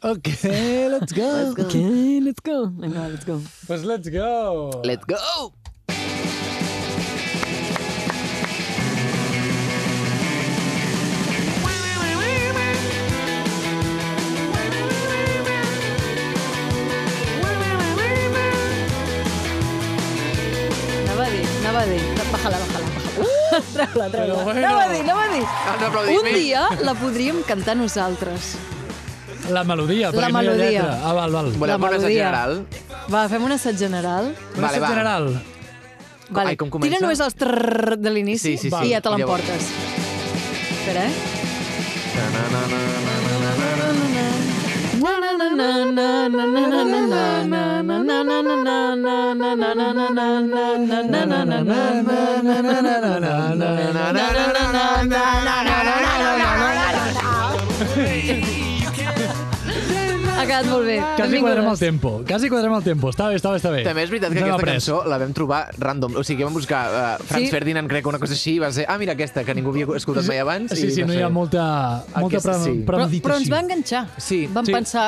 Ok, let's go. Let's go. Ok, let's go. Venga, let's go. Pues let's go. Let's go. Anava a dir, anava a dir. Bájala, bájala, bájala. Uh! Treu-la, treu-la. Però bueno. Anava a dir, anava a dir. Un Un dia la podríem cantar nosaltres. La melodia, perquè no La hi ha melodia. lletra. Ah, val, val. La Volem un assaig melodia. general? Va, fem un assaig general. Una Vale, set va. general. Vale. Ai, com comença? Tira només els trrrr de l'inici Sí, sí, sí. i ja te Llavors. l'emportes. Espera, eh? Ha quedat molt bé. Quasi quadrem el Benvingudes. tempo. Quasi quadrem el tempo. Està bé, està bé, està bé. També és veritat que No l'ha aquesta pres. cançó la vam trobar random. O sigui, vam buscar uh, Franz Sí. Ferdinand, crec, una cosa així, i va ser, ah, mira aquesta, que ningú havia escoltat mai abans. Sí, i sí, va no hi ser- ha molta, molta Aquesta pre- sí. Però- Però, premeditació. però ens va enganxar. Sí, Vam sí. pensar...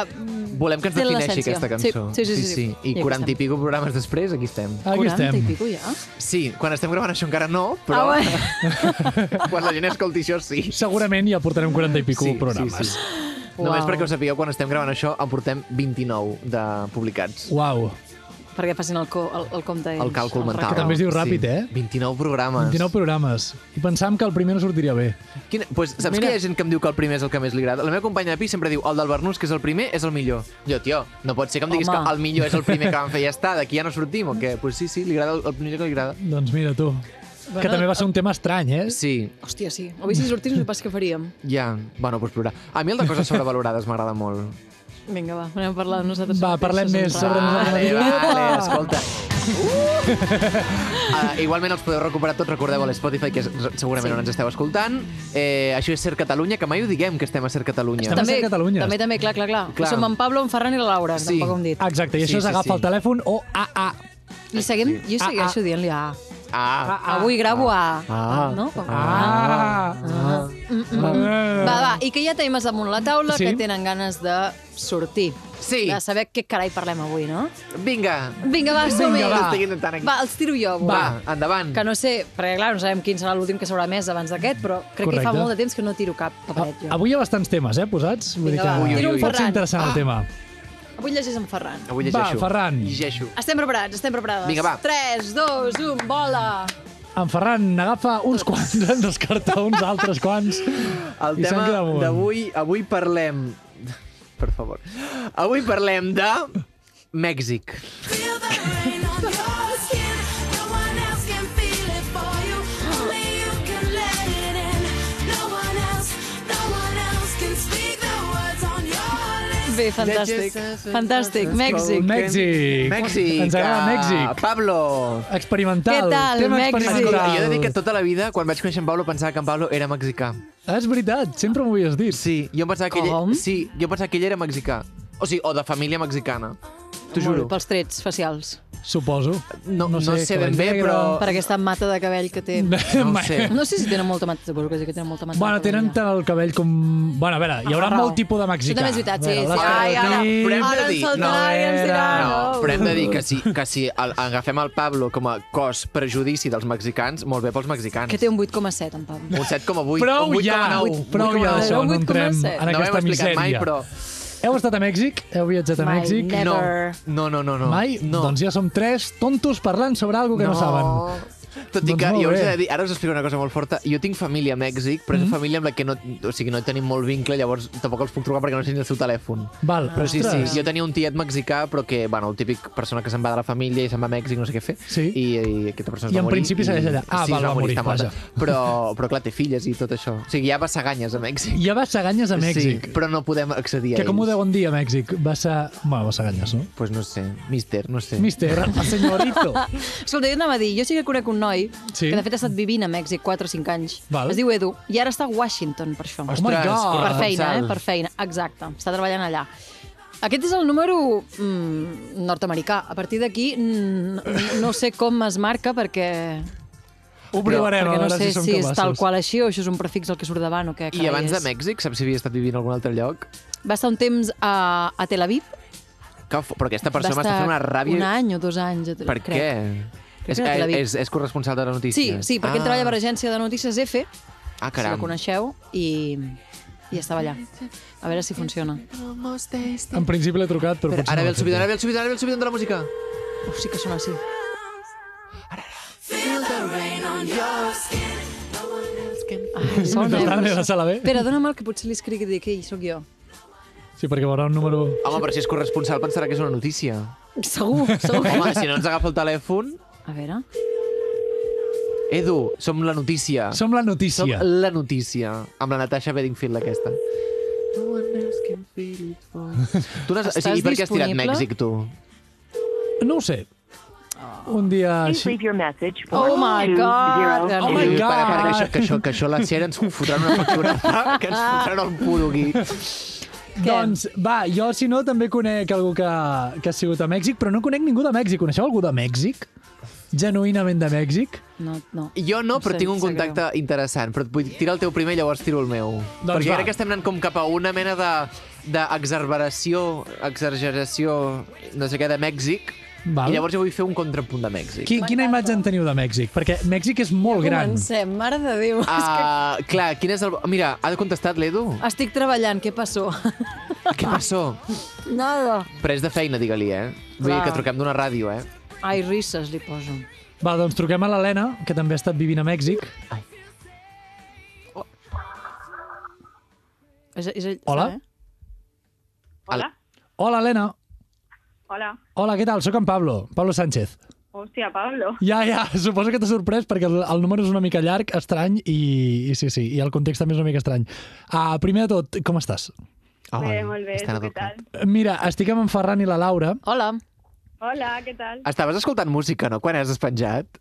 Volem que ens té defineixi l'essència. aquesta cançó. Sí, sí, sí. sí, I, 40 i pico programes després, aquí estem. Aquí 40 estem. i pico ja. Sí, quan estem gravant això encara no, Ah, però bueno. quan la gent escolti això sí. Segurament ja portarem 40 i pico programes. Sí, sí. Només Uau. perquè ho sapigueu, quan estem gravant això en portem 29 de publicats. Uau. Perquè facin el, co, el, el compte ells. El càlcul mental. recàlcul. També es diu ràpid, sí. eh? 29 programes. 29 programes. I pensàvem que el primer no sortiria bé. Quina... Pues, saps Mira. que hi ha gent que em diu que el primer és el que més li agrada? La meva companya de pis sempre diu el del Bernús, que és el primer, és el millor. Jo, tio, no pot ser que em diguis Home. que el millor és el primer que vam fer i ja està, d'aquí ja no sortim o què? Pues sí, sí, li agrada el, el millor que li agrada. Doncs mira tu. que també va ser un tema estrany, eh? Sí, Hòstia, sí. O bé si sortís, no pas que faríem. ja. Bueno, pues plorar. A mi el de coses sobrevalorades m'agrada molt. Vinga, va, anem a parlar de nosaltres. Va, mateixos parlem un més rato. sobre Vale, nosaltres. vale, escolta. Uh, igualment els podeu recuperar tots, recordeu a l'Spotify, que és, segurament Sí. sí. on ens esteu escoltant. Eh, això és Ser Catalunya, que mai ho diguem que estem a Ser Catalunya. Estem a També, ser Catalunya. també, també, clar, clar, clar. Clar. clar. Som en Pablo, en Ferran i la Laura, Sí. Ah, sí. tampoc hem dit. Exacte, i Sí, això és sí, agafa sí. el telèfon o a a. I seguim, jo Ah, segueixo dient-li A. Ah, Ah, Avui gravo A. Ah. No? Com- Ah. Ah. Va, va, i que ja tenim els damunt la taula Sí. que tenen ganes de sortir. Sí. De saber què carai parlem avui, no? vinga. Vinga, va, som-hi. Vinga, va. Estic intentant aquí. Va, els tiro jo avui. Va, endavant. Que no sé, perquè clar, no sabem quin serà l'últim que s'haurà més abans d'aquest, però crec que fa Correcte. Ah, molt de temps que no tiro cap A- paperet, jo. Avui hi ha bastants temes, eh, posats? Vinga, va. Ui, ui, que ui. pot ser Ferran. interessant Ah. el tema. Avui llegeix en Ferran. Avui Va, llegeixo. Ferran. Llegeixo. Estem preparats, estem preparades. Vinga, va. 3, 2, 1, vola! En Ferran n'agafa uns quants, en descarta uns altres quants. El i se'n tema queda amb un. d'avui... Avui parlem... Per favor. Avui parlem de... Mèxic. Bé, fantàstic. Fantàstic, Mèxic. Mèxic. Mèxic. Ens agrada Ah, Mèxic. Pablo. Experimental. Què tal, tema Mèxic? Escolta, experimental. jo he de dir que tota la vida, quan vaig conèixer en Pablo, pensava que en Pablo era mexicà. Ah, és veritat, sempre m'ho havies dit. Sí, jo em pensava que Com? ell... Sí, jo em pensava que ell era mexicà. O sigui, o de família mexicana. T'ho juro. Molt, Pels trets facials. Suposo. No, no, sé, que ben la bé, negra- però... Per aquesta mata de cabell que té. No ho sé. No sé si tenen molta mata, suposo que sí que tenen molta mata. Bueno, de tenen cabell, tant el cabell com... Bueno, a veure, hi haurà Aferrau. molt tipus de mexicà. Això també és veritat, sí, A veure, sí. Ai, ara, l'estereotip, però hem de ara dir, ens saltarà no i ens dirà... era. No, però hem de dir que si, que si el, agafem el Pablo com a cos prejudici dels mexicans, molt bé pels mexicans. Que té un 8,7, en Pablo. Un 7,8, Prou un 8,9. ja, prou ja d'això, Un no entrem 8,7. en No ho hem aquesta explicat misèria. mai, però... Heu estat a Mèxic? Heu viatjat a Mai, Mèxic? never. No, no, no, no. no. Mai? No. Doncs ja som tres tontos parlant sobre algo que no, saben. Tot i Doncs que molt jo us he bé. Mhm. de dir, ara us explico una cosa molt forta. Jo tinc família a Mèxic, però és una família amb la que no, o sigui, no tenim molt vincle, llavors tampoc els puc trucar perquè no sé ni el seu telèfon. Val, Però sí, sí, ostres. jo tenia un tiet mexicà, però que, bueno, el típic persona que se'n va de la família i se'n va a Mèxic, no sé què fer, Sí. i, i aquesta persona es I va en morir. principi segueix allà. Ah, val, sí, es va, va morir, està morta. vaja. Però, però clar, té filles i tot això. O sigui, ja va ser ganyes a Mèxic. Hi ha bassaganyes a Mèxic. Sí, però no podem accedir a Que ells. com ho deuen dir a Mèxic? Va ser... Bueno, bassaganyes, no? Pues no sé, mister, no sé. Mister, el senyorito. Escolta, jo anava a dir, jo sí que conec un noi Sí. que de fet ha estat vivint a Mèxic 4 o 5 anys. Val. Es diu Edu, i ara està a Washington per això. Oh my God. per feina, eh? corresponsal. Per feina, exacte. Està treballant allà. Aquest és el número mm, nord-americà. A partir d'aquí mm, no sé com es marca perquè, Ho provarem, perquè a no veure sé si som si és capaços. tal qual així o això és un prefix el que surt davant o què. I carai abans de és. Mèxic, saps si havia estat vivint a algun altre lloc? Va estar un temps a, a Tel Aviv. Que fo- Però aquesta persona va m'està estar fent una ràbia... Un any o dos anys. a Tel- Per crec. què? Crec És, que era a Tel és, Aviv. és, és corresponsal de la Sí, notícia. sí, perquè ah. ell treballa per agència de notícies EFE, si la Ah, caram. coneixeu, i, i estava allà. A veure si funciona. En principi l'he trucat, però, Espera, potser ara no l'ha ve el subidon, trucat. ara ve el subidon, ara ve el subidon de la música. Oh, sí que sona així. Ai, sona, Mentrestant, eh? anem a la sala B. Espera, dóna'm el que potser li escric i dic, ei, sóc jo. Sí, perquè veurà un número... Home, però si és corresponsal pensarà que és una notícia. Segur, segur. Home, si no ens agafa el telèfon... A veure. Edu, som la notícia. Som la Ah. Som notícia. la notícia. Amb la Natasha Bedingfield, aquesta. No one else can feel it for you. tu n'has- o Estàs sigui, I per què has tirat disponible? Mèxic, tu? No ho sé. Un dia Please així... leave your message for Oh my 220. God. Oh my Edu, God. Para, para, que això, que això, que això la Xera ens fotran una facturada, que ens fotran el puro aquí. Què? Doncs, va, jo si no també conec algú que, que ha sigut a Mèxic, però no conec ningú de Mèxic. Coneixeu algú de Mèxic? Genuïnament de Mèxic? No, no. Jo no, però Em tinc un sap greu. contacte interessant. Però et vull tirar el teu primer i llavors tiro el meu. Doncs Perquè va. crec que estem anant com cap a una mena de d'exarberació, exageració, no sé què, de Mèxic. Val. I llavors jo vull fer un contrapunt de Mèxic. Qui, quina imatge en teniu de Mèxic? Perquè Mèxic és molt gran. Comencem, mare de Déu. Ah, clar, quin és el... Mira, ha contestat l'Edu. Estic treballant, què passó? Què passó? Nada. Però és de feina, digue-li, eh? Vull dir Clar. que truquem d'una ràdio, eh? Ai, risses li poso. Va, doncs truquem a l'Helena, que també ha estat vivint a Mèxic. És, és, ell, Hola? Eh? Hola, Hola, Helena. hola. Hola, què tal? Sóc en Pablo, Pablo Sánchez. Hòstia, Pablo. Ja, ja, suposo que t'ha sorprès perquè el, el número és una mica llarg, estrany i, i sí, sí, i el context també és una mica estrany. Uh, primer de tot, com estàs? Bé, molt bé, estan tu què educats. tal? Mira, estic amb en Ferran i la Laura. Hola. Hola, què tal? Estaves escoltant música, no? Quan has despenjat?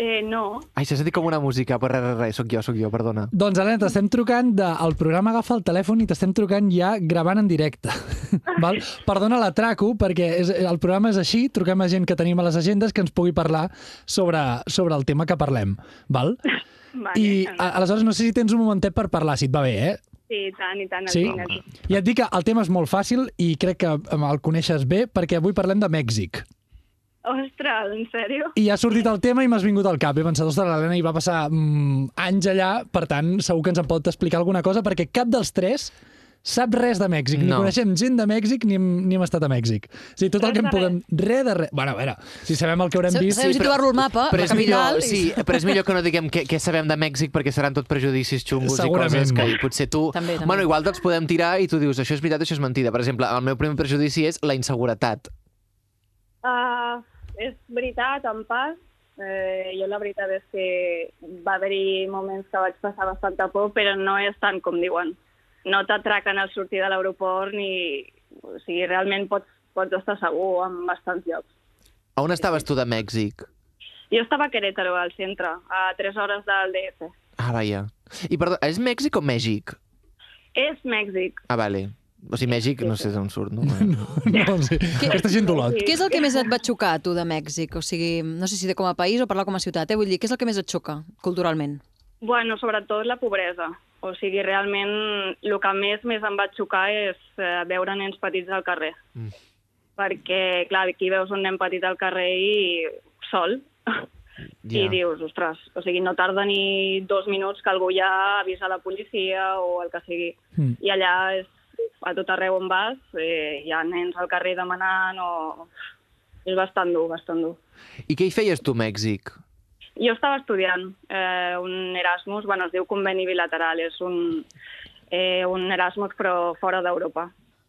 Eh, no, Ai, s'ha sentit com una música, però res, res, res, sóc jo, sóc jo, perdona. Doncs, Helena, t'estem trucant del programa Agafa el telèfon i t'estem trucant ja gravant en directe. Val? Perdona l'atraco, perquè és, el programa és així, truquem a gent que tenim a les agendes que ens pugui parlar sobre, sobre el tema que parlem. Val? vale. I em- a, aleshores no sé si tens un momentet per parlar, si et va bé, eh? Sí, i tant, i tant, al Sí? tinc, el tinc. I et dic que el tema és molt fàcil i crec que em, el coneixes bé perquè avui parlem de Mèxic. Ostres, en sèrio? I ha sortit el tema i m'has vingut al cap. He pensat, ostres, l'Helena hi va passar mm, anys allà, per tant, segur que ens en pot explicar alguna cosa, perquè cap dels tres sap res de Mèxic. Ni No. coneixem gent de Mèxic ni hem, ni hem estat a Mèxic. O sigui, tot el Res que en de res. puguem... Re de res. Bueno, a veure, si sabem el que haurem Sa- vist... sabem si trobar-lo al mapa, Però la és, millor, capital, i- sí, però és millor que no diguem què, què sabem de Mèxic perquè seran tot prejudicis xungos Segurament. i coses que i potser tu... També, també. Bueno, igual te'ls podem tirar i tu dius això és veritat, això és mentida. Per exemple, el meu primer prejudici és la inseguretat. Uh, és veritat, en part. Eh, jo la veritat és que va haver-hi moments que vaig passar bastanta por, però no és tant com diuen. No t'atraquen al sortir de l'aeroport ni... O sigui, realment pots, pots estar segur en bastants llocs. On estaves tu de Mèxic? Jo estava a Querétaro, al centre, a 3 hores del DF. Ah, vaja. I perdó, és Mèxic o Mèxic? És Mèxic. Ah, vale. O sigui, Mèxic, no sé d'on surt, no? no. No, sí. Aquesta gent d'Olot. Què és el que més et va xocar, tu, de Mèxic? O sigui, no sé si de com a país o parlar com a ciutat, eh? Vull dir, què és el que més et xoca, culturalment? Bueno, sobretot la pobresa. O sigui, realment el que més més em va xocar és eh, veure nens petits al carrer. Mm. Perquè, clar, aquí veus un nen petit al carrer i sol. Yeah. I dius, ostres, o sigui, no tarda ni dos minuts que algú ja avisa la policia o el que sigui. Mm. Mm. I allà és, a tot arreu on vas eh, hi ha nens al carrer demanant o... És bastant dur, bastant dur. I què hi feies tu, a Mèxic? Jo estava estudiant eh, un Erasmus, bueno, es diu conveni bilateral, és un, eh, un Erasmus però fora d'Europa.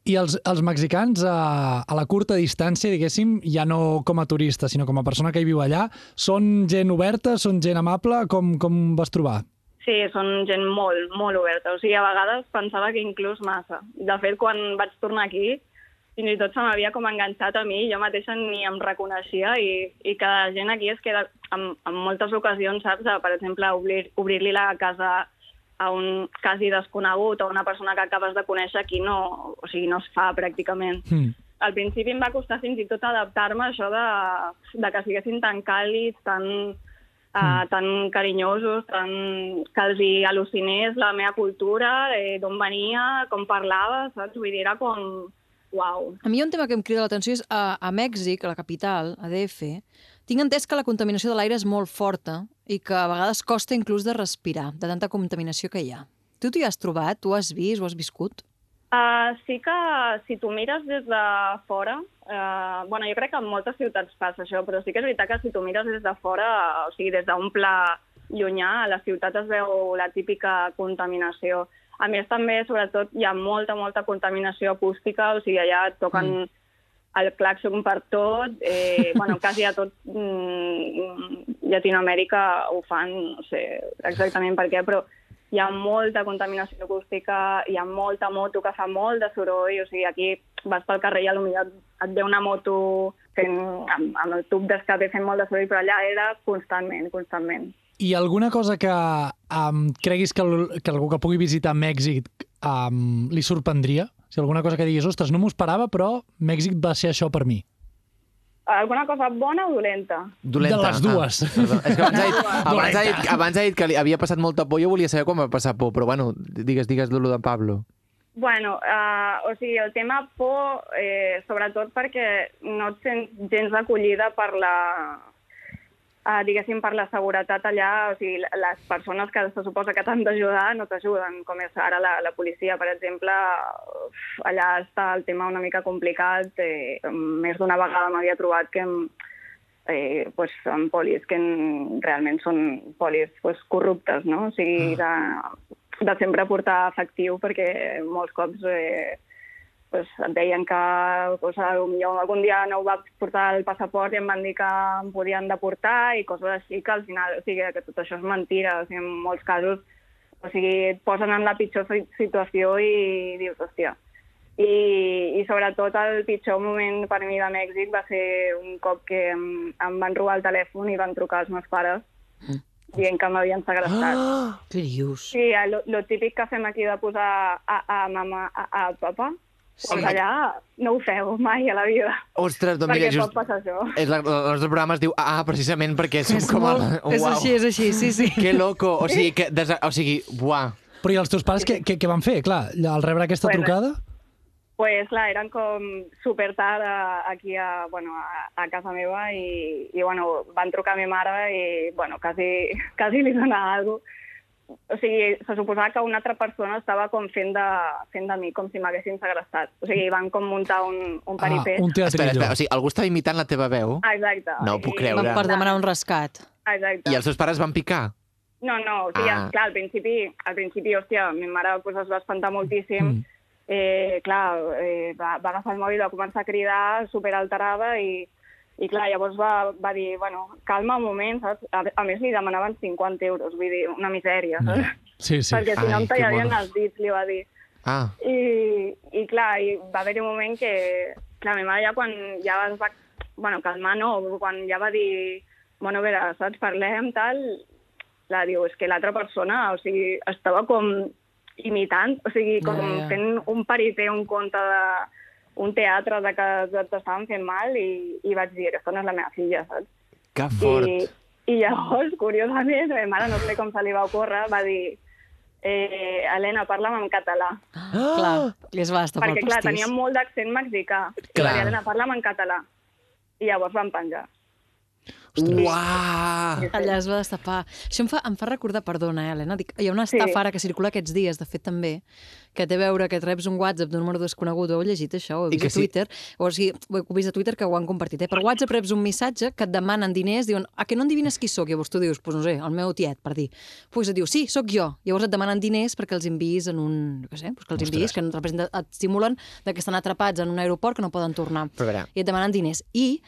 I els, els mexicans, a, a la curta distància, diguéssim, ja no com a turista, sinó com a persona que hi viu allà, són gent oberta, són gent amable, com, com vas trobar? Sí, són gent molt, molt oberta. O sigui, a vegades pensava que inclús massa. De fet, quan vaig tornar aquí, fins i tot se m'havia com enganxat a mi, jo mateixa ni em reconeixia i, i que la gent aquí es queda, en, en moltes ocasions, saps, de, per exemple, obrir- obrir-li la casa a un quasi desconegut o a una persona que acabes de conèixer aquí no, o sigui, no es fa pràcticament. Hmm. al principi em va costar fins i tot adaptar-me a això de, de que siguessin tan càlids, tan, Uh, tan carinyosos, tan... que els hi al·lucinés la meva cultura, eh, d'on venia, com parlava, saps? Vull dir, era com... Uau. A mi hi ha un tema que em crida l'atenció és a, a Mèxic, a la capital, a DF, tinc entès que la contaminació de l'aire és molt forta i que a vegades costa inclús de respirar, de tanta contaminació que hi ha. Tu t'hi has trobat? Tu has vist? Ho has viscut? Uh, sí que si tu mires des de fora, uh, bueno, jo crec que en moltes ciutats passa això, però sí que és veritat que si tu mires des de fora, o sigui, des d'un pla llunyà, a la ciutat es veu la típica contaminació. A més, també, sobretot, hi ha molta, molta contaminació acústica, o sigui, allà et toquen mm. el claxon per tot, eh, bueno, quasi a tot mm, Llatinoamèrica ho fan, no sé exactament per què, però hi ha molta contaminació acústica, hi ha molta moto que fa molt de soroll, o sigui, aquí vas pel carrer i a lo millor et ve una moto fent, amb, amb el tub d'escape fent molt de soroll, però allà era constantment, constantment. I alguna cosa que um, creguis que, el- que algú que pugui visitar Mèxic um, li sorprendria? Si alguna cosa que diguis, ostres, no m'ho esperava, però Mèxic va ser això per mi. Alguna cosa bona o dolenta? Dolenta. De les dues. Ah, perdó. és que abans ha, dit, abans, ha dit, Dolenta. abans ha dit que li havia passat molta por. Jo volia saber quan va passar por, però bueno, digues, digues lo de Pablo. Bueno, uh, o sigui, el tema por, eh, sobretot perquè no et sents gens acollida per la, uh, diguéssim, per la seguretat allà, o sigui, l- les persones que se suposa que t'han d'ajudar no t'ajuden, com és ara la, la policia, per exemple, uf, allà està el tema una mica complicat, eh, més d'una vegada m'havia trobat que em, eh, pues, amb polis que en, realment són polis pues, corruptes, no? O sigui, de, de sempre portar efectiu perquè molts cops eh, pues, et deien que pues, potser algun dia no ho va portar el passaport i em van dir que em podien deportar i coses així que al final, o sigui, que tot això és mentira. O sigui, en molts casos o sigui, et posen en la pitjor si- situació i dius, hòstia. I, I sobretot el pitjor moment per mi de Mèxic va ser un cop que em, em van robar el telèfon i van trucar els meus pares dient que m'havien segrestat. Què dius? Sí, el- lo, lo típic que fem aquí de posar a, a mama, a, a papa, sí. doncs allà no ho feu mai a la vida. Ostres, doncs perquè mira, just... pot passar això. És la, el nostre programa es diu AA, precisament perquè som com... molt... a- és Uau. així, és així, sí, sí. Que loco. O sigui, que desa... o sigui, buah. Però i els teus pares què, què, què van fer? Clar, al rebre aquesta Bueno. trucada... Pues clar, eren com super tard a, aquí a, bueno, a, a casa meva i, i bueno, van trucar a mi mare i bueno, quasi, quasi li donava alguna O sigui, se suposava que una altra persona estava com fent de, fent de mi, com si m'haguessin segrestat. O sigui, van com muntar un, un Ah, peripet. un teatrillo. Espera, espera, o sigui, algú estava imitant la teva veu Ah, Exacte. No ho puc I- creure. Per demanar un rescat. Exacte. i els seus pares van picar. No, no, o sigui, Ah. ah. clar, al principi, al principi, hòstia, mi mare pues, es va espantar moltíssim. Mm. Mm. Eh, clar, eh, va, va agafar el mòbil, va començar a cridar, superalterada, i, i clar, llavors va, va dir, bueno, calma un moment, saps? A, a més, li demanaven 50 euros, vull dir, una misèria, saps? No. Sí, sí. Perquè si Ai, no em que tallarien bonos. els dits, li va dir. Ah, I, i clar, i va haver-hi un moment que la meva mare ja quan ja es va bueno, calmar, no, quan ja va dir bueno, a veure, saps, parlem, tal, la diu, és que l'altra persona, o sigui, estava com imitant, o sigui, com Ja, ja. fent un parité, un conte de un teatre de que t'estaven fent mal i, i vaig dir, aquesta no és la meva filla, saps? que fort. I, I llavors, curiosament, la meva mare, no sé com se li va ocórrer, va dir, eh, Helena, parla'm en català. Ah! Clar, li es va estar Perquè, pel clar, pastís. tenia molt d'accent mexicà. I Clar. la Diana parlava en català. I llavors van penjar. Uah! Allà es va destapar. Això em fa, em fa recordar, perdona, eh, Helena, dic, hi ha una estafa Sí. sí. ara que circula aquests dies, de fet també, que té a veure que et reps un WhatsApp d'un número desconegut, ho heu llegit això, ho he I vist que a sí. Twitter, o sigui, ho he vist a Twitter que ho han compartit, eh? per WhatsApp reps un missatge que et demanen diners, diuen, a que no endevines qui sóc? Llavors tu dius, pues no sé, el meu tiet, per dir. Pues et diu, sí, sóc jo. Llavors et demanen diners perquè els enviïs en un, no sé, pues que els enviïs, que no et representa, et simulen de que estan atrapats en un aeroport que no poden tornar Però a veure, i et demanen diners. I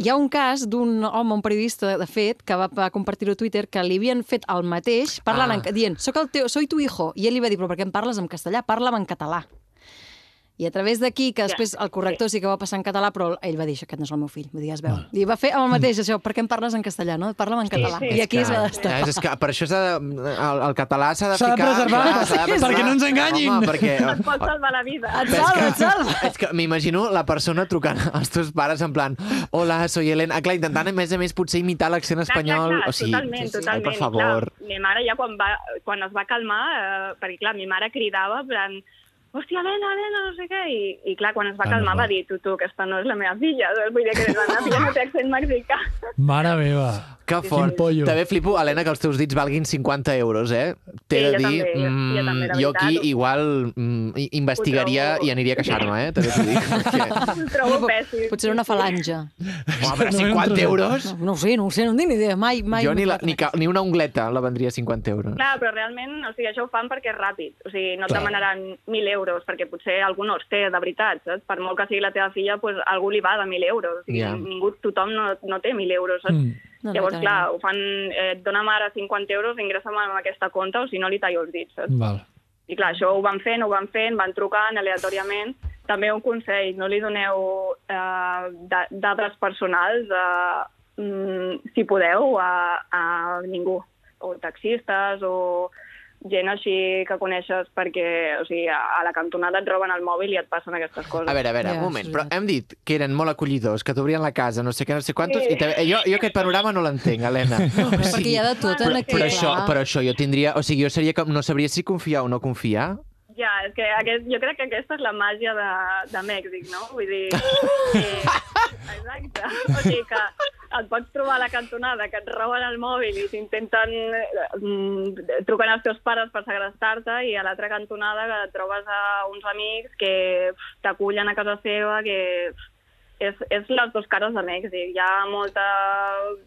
hi ha un cas d'un home, un periodista, de fet, que va, va compartir-ho a Twitter, que li havien fet el mateix, parlant Ah. ah. en, ca- dient, soc el teu, soy tu hijo. I ell li va dir, però per què em parles en castellà? Parla'm en català. I a través d'aquí, que Ja, després el corrector sí que va passar en català, però ell va dir, "Això, aquest no és el meu fill, vull dir, ja es veu. Val. I va fer amb el mateix, això, per què em parles en castellà, no? Parla'm en català. sí, I aquí que- es va destapar. És, és que per això s'ha de, el, el català s'ha de S'ha de ficar... preservar, clar, s'ha de sí, perquè no ens enganyin. Home, perquè... oh, Et pot salvar la vida. Et salva, et salva. És que m'imagino la persona trucant als teus pares en plan Hola, soy Helen. Ah, clar, intentant, a més a més, potser imitar l'accent Clar, clar, espanyol. clar, o sigui, totalment, sí, sí. Ai, totalment. per favor. Clar, mi mare ja quan, va, quan es va calmar, eh, perquè clar, mi mare cridava, en plan, hòstia, Helena, Helena, no sé què, i, i clar, quan es va Ah, calmar normal. va dir, tu, tu, aquesta no és la meva filla, doncs vull dir que la meva filla no té accent mexicà. Mare meva. Que fort. pollo. També flipo, Helena, que els teus dits valguin 50 euros, eh? T'he Sí, de jo dir, mm, també, jo- jo també, la jo aquí veritat. igual mm, hi- investigaria trobo- i aniria a queixar-me, eh? També t'ho dic. Perquè... Ho trobo pèssim. Potser era una falange. Oh, No, però 50 no. euros? No, no ho sé, no ho sé, no en tinc ni idea. Mai, mai... Jo ni, la, m'he ni, ca, ni una ungleta la vendria a 50 euros. Clar, però realment, o sigui, això ho fan perquè és ràpid. O sigui, no et Clar. demanaran 1.000 euros, perquè potser algú no els té, de veritat, saps? Per molt que sigui la teva filla, doncs, algú li va de 1.000 euros. O sigui, Ja. ningú, tothom no, no té 1.000 euros, saps? Mm. No, no, Llavors, també clar, ho fan, eh, et dona'm ara 50 euros, ingressa'm en aquesta compta o si no li tallo els dits, saps? Mm, Val. I clar, això ho van fent, ho van fent, van trucant aleatòriament. També un consell, no li doneu eh, da- dades personals, eh, mm, si podeu, a, a ningú. O taxistes, o gent així que coneixes perquè o sigui, a, a la cantonada et roben el mòbil i et passen aquestes coses. A veure, a veure, Ja, un moment. és Però veritat. hem dit que eren molt acollidors, que t'obrien la casa, no sé què, no sé quantos... I Sí. també, jo, jo aquest panorama no l'entenc, Helena. O Perquè hi ha de tot en però, aquí, però, clar. això, però això jo tindria... O sigui, jo seria com... No sabria si confiar o no confiar. Ja, és que aquest, jo crec que aquesta és la màgia de, de Mèxic, no? Vull dir... Eh, exacte. O sigui que et pots trobar a la cantonada, que et roben el mòbil i t'intenten... eh, mm, truquen als teus pares per segrestar-te i a l'altra cantonada que et trobes a uns amics que pf, t'acullen a casa seva, que... pf, És, és les dues cares de Mèxic. Hi ha molta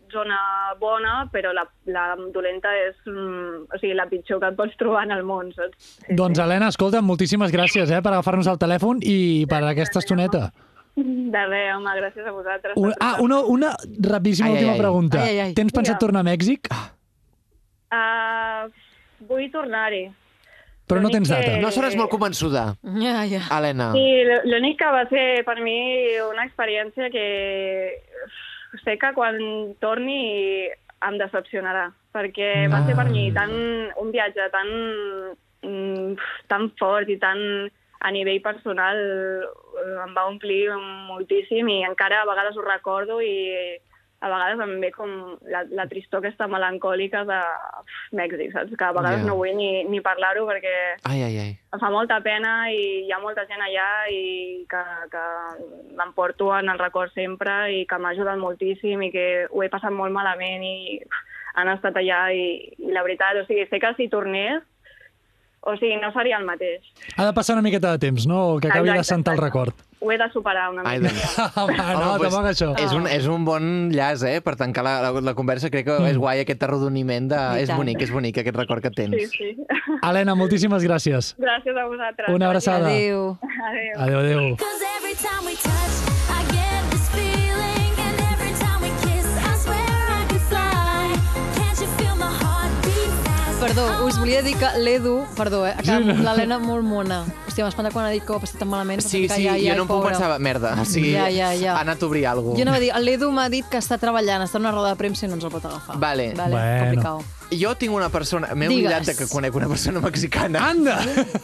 zona bona, però la, la dolenta és mm, o sigui, la pitjor que et pots trobar en el món, saps? Doncs, Helena, escolta, moltíssimes gràcies eh, per agafar-nos el telèfon i per aquesta estoneta. De res, home, gràcies a vosaltres. Un, ah, una, una rapidíssima Ai, ai, última ai. pregunta. Ai, ai, ai. Tens pensat Mira. tornar a Mèxic? Ah, vull tornar-hi. Però no L'únic tens que- data. No sones molt convençuda, tornat. Ja, ja. Helena. Eh. Sí, l- l'únic que va ser per mi una experiència que sé que quan torni em decepcionarà, perquè va ser per mi tan, un viatge tan, mm, tan fort i tan a nivell personal eh, em va omplir moltíssim i encara a vegades ho recordo i a vegades em ve com la, la tristor aquesta melancòlica de uf, Mèxic, saps? Que a vegades Ja. no vull ni, ni parlar-ho perquè Ai, ai, ai. em fa molta pena i hi ha molta gent allà i que, que m'emporto en el record sempre i que m'ha ajudat moltíssim i que ho he passat molt malament i han estat allà i, i la veritat, o sigui, sé que si tornés, o sigui, no seria el mateix. Ha de passar una miqueta de temps, no? Que acabi Exacte, de sentar el exacte. record. Ho he de superar una Ai, mica. doncs. Home, no, Home, tampoc doncs, això. És un, és un bon llaç, eh? Per tancar la, la, la conversa, crec que és guai aquest arrodoniment de... Mm. I És tant. bonic, és bonic aquest record que Sí, tens. sí. Helena, moltíssimes gràcies. Gràcies a vosaltres. Una abraçada. Adéu. Adéu. Adéu, adéu. Cause every time we touch, I get this feeling. And every time we kiss, I swear I could fly. Can't you feel my heart beat fast? Perdó, us volia dir que l'Edu... Perdó, eh? Que Sí, no. l'Helena molt mona. Hòstia, m'ha espantat quan ha dit que ho ha passat tan malament. Sí, perquè sí, ja, ja, jo no em puc pobra. pensar... Merda, o sigui, Ja, ja, ja. ha anat a obrir alguna Jo anava a dir, l'Edu m'ha dit que està treballant, està en una roda de premsa i no ens el pot agafar. Vale. vale. Bueno. Complicado. Jo tinc una persona... M'he Digues. oblidat de que conec una persona mexicana. Anda!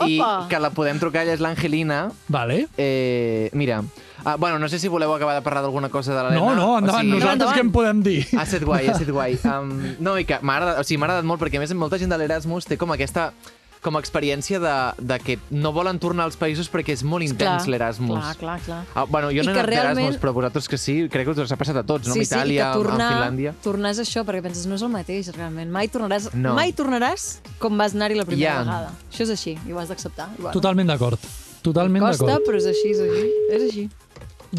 I Opa! que la podem trucar, ella és l'Angelina. Vale. Eh, mira, ah, bueno, no sé si voleu acabar de parlar d'alguna cosa de l'Helena. No, no, endavant. Nosaltres endavant. Ah, què en podem dir? Ha estat guai, ha estat guai. Um, no, i que m'ha agradat, o sigui, m'ha agradat molt, perquè a més molta gent de l'Erasmus té com aquesta com a experiència de, de que no volen tornar als països perquè és molt intens Clar, l'Erasmus. clar, clar. Ah, bueno, I jo no he que anat realment- d'Erasmus, però vosaltres que sí, crec que us ha passat a tots, no? sí, Amb Itàlia, sí, i amb- que tornar, amb Finlàndia... tornar és això, perquè penses, no és el mateix, realment. Mai tornaràs, No. mai tornaràs com vas anar-hi la primera Ja. vegada. Això és així, i ho has d'acceptar. i Bueno. Totalment d'acord. Totalment Costa, d'acord. però és així, és així. És així.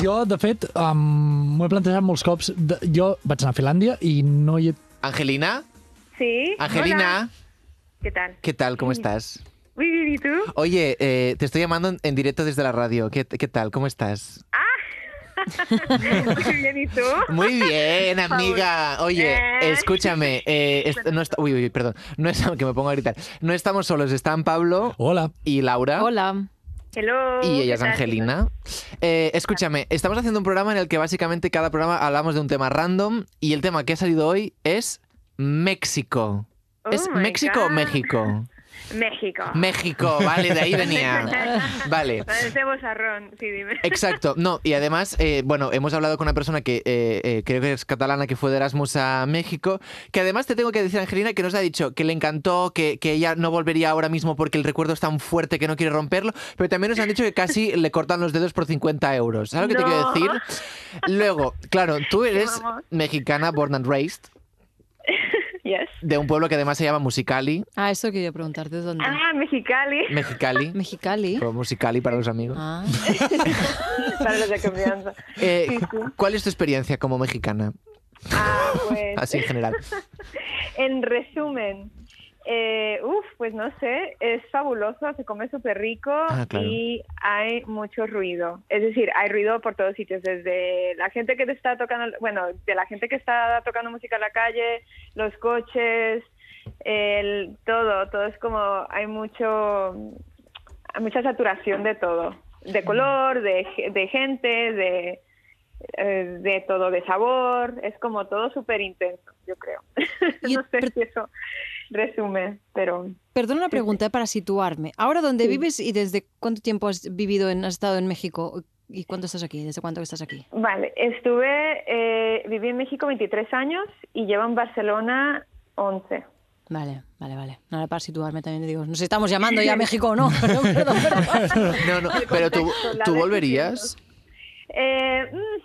Jo, de fet, um, m'ho he plantejat molts cops. De, jo vaig anar a Finlàndia i no hi he... Angelina? Sí. Angelina, Hola. ¿Qué tal? ¿qué tal? ¿Cómo estás? Muy bien, ¿y tú? Oye, eh, te estoy llamando en, en directo desde la radio. ¿Qué, qué tal? ¿Cómo estás? Muy bien, ¿y tú? Muy bien, amiga. Oye, Eh. escúchame. eh, est- no est- uy, uy, perdón. No es que me pongo a gritar. No estamos solos. Están Pablo Hola. y Laura. Hola. Hello. Y ella Uh, ¿qué es tal? Angelina. Eh, escúchame, estamos haciendo un programa en el que básicamente cada programa hablamos de un tema random y el tema que ha salido hoy es México. Oh ¿Es my México o God. México? México. México, vale, de ahí venía. Vale. Parece bozarrón, sí, dime. Exacto, no, y además, eh, bueno, hemos hablado con una persona que eh, eh, creo que es catalana, que fue de Erasmus a México, que además te tengo que decir, Angelina, que nos ha dicho que le encantó, que, que ella no volvería ahora mismo porque el recuerdo es tan fuerte que no quiere romperlo, pero también nos han dicho que casi le cortan los dedos por 50 euros. ¿Sabes lo que te quiero No. decir? Luego, claro, tú eres vamos. mexicana, born and raised, Yes. de un pueblo que además se llama Musicali, Ah, eso quería preguntarte, ¿de Mm. dónde? Ah, Mexicali. Mexicali, Mexicali. o Musicali para los amigos. Ah. Para los de confianza. Eh, ¿Cuál es tu experiencia como mexicana, Ah, pues. así en general? En resumen, eh, uf, pues no sé, es fabuloso, se come súper rico Ah, claro. y hay mucho ruido. Es decir, hay ruido por todos sitios, desde la gente que te está tocando, bueno, de la gente que está tocando música en la calle, los coches, el, todo, todo es como, hay mucho, hay mucha saturación de todo, de color, de, ge- de gente, de eh, de todo de sabor, es como todo súper intenso, yo creo. Y- no sé pero- si eso resume, pero Perdona una pregunta eh, para situarme. Ahora, ¿dónde Sí. vives y desde cuánto tiempo has vivido, en, has estado en México? ¿Y cuánto estás aquí? ¿Desde cuánto que estás aquí? vale, estuve, eh, viví en México 23 años y llevo en Barcelona 11. Vale, vale, vale. Ahora para situarme también te digo, nos estamos llamando ya a México o no. Perdón, perdón, perdón. No, no, pero tú, contexto, la tú decisión. volverías. Eh, mm,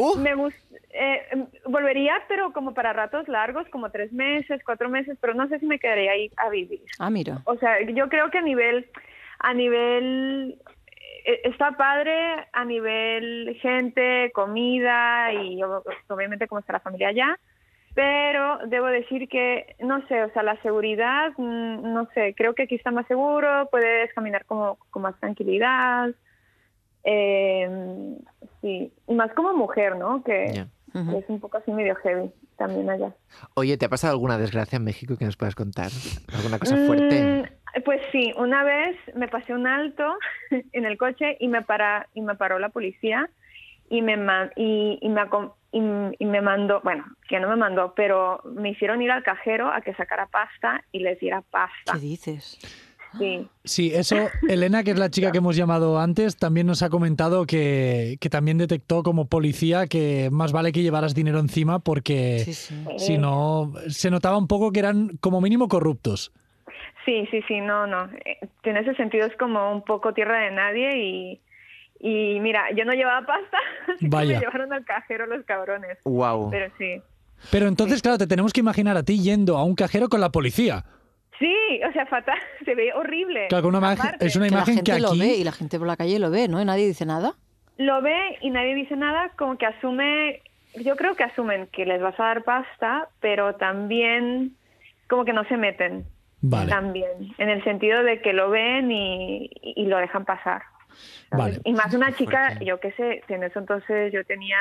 ¡Uh! me gus- eh, mm, volvería, pero como para ratos largos, como tres meses, cuatro meses, pero no sé si me quedaría ahí a vivir. Ah, mira. O sea, yo creo que a nivel, a nivel, eh, está padre a nivel gente, comida y ob- obviamente cómo está la familia allá, pero debo decir que, no sé, o sea, la seguridad, mm, no sé, creo que aquí está más seguro, puedes caminar como, con más tranquilidad, eh, sí, y más como mujer, ¿no? Que Ya. Ujú. que es un poco así medio heavy también allá. Oye, ¿te ha pasado alguna desgracia en México que nos puedas contar? ¿Alguna cosa fuerte? Mm, pues sí, una vez me pasé un alto en el coche y me para y me paró la policía y me ma- y, y me acom- y, m- y me mandó, bueno, que no me mandó, pero me hicieron ir al cajero a que sacara pasta y les diera pasta. ¿Qué dices? Sí. Sí, eso, Elena, que es la chica que hemos llamado antes, también nos ha comentado que, que también detectó como policía que más vale que llevaras dinero encima porque Sí, sí. si Ah, no, se notaba un poco que eran como mínimo corruptos. Sí, sí, sí, no, no. Eh, En ese sentido es como un poco tierra de nadie y, y mira, yo no llevaba pasta, así que Vaya. Oh. me llevaron al cajero los cabrones. ¡Wow! Pero sí. Pero entonces, claro, te tenemos que imaginar a ti yendo a un cajero con la policía. Sí, o sea, fatal, se ve horrible. Claro, que una imagen- Aparte. es una Eh, Que la imagen gente que lo ve aquí... y la gente por la calle lo ve, ¿no? Y nadie dice nada. lo ve y nadie dice nada, como que asume, yo creo que asumen que les vas a dar pasta, pero también como que no se meten. Vale, También, en el sentido de que lo ven y, y lo dejan pasar. ¿sabes? vale. Y más una Qué chica, fuerte. yo qué sé, en eso entonces yo tenía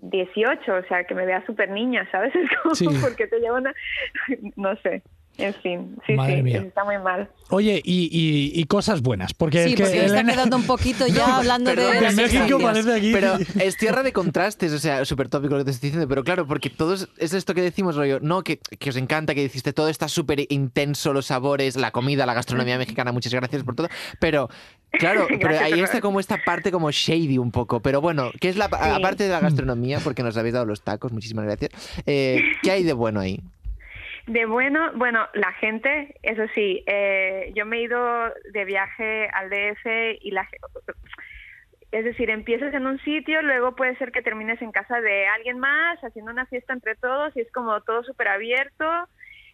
18, o sea, que me vea súper niña, ¿sabes? Es como, Sí. porque te lleva una... no sé, en fin, sí, Madre sí, mía. está muy mal. Oye, y, y- y cosas buenas, porque Sí, es que porque me está Elena- quedando un poquito ya hablando perdón, de. que las en México experiencias. parece aquí... Pero es tierra de contrastes, o sea, súper tópico lo que te estoy diciendo, pero claro, porque todos, es esto que decimos, rollo, no, que, que os encanta, que dijiste, todo está súper intenso, los sabores, la comida, la gastronomía mexicana, muchas gracias por todo, pero claro, pero Gracias, ahí Fernando. está como esta parte como shady un poco, pero bueno, que es la pa- Sí. aparte de la gastronomía, porque nos habéis dado los tacos, muchísimas gracias, eh, ¿qué hay de bueno ahí? De bueno, bueno, la gente, eso sí, eh, yo me he ido de viaje al DF y la ge- es decir, empiezas en un sitio, luego puede ser que termines en casa de alguien más, haciendo una fiesta entre todos y es como todo súper abierto,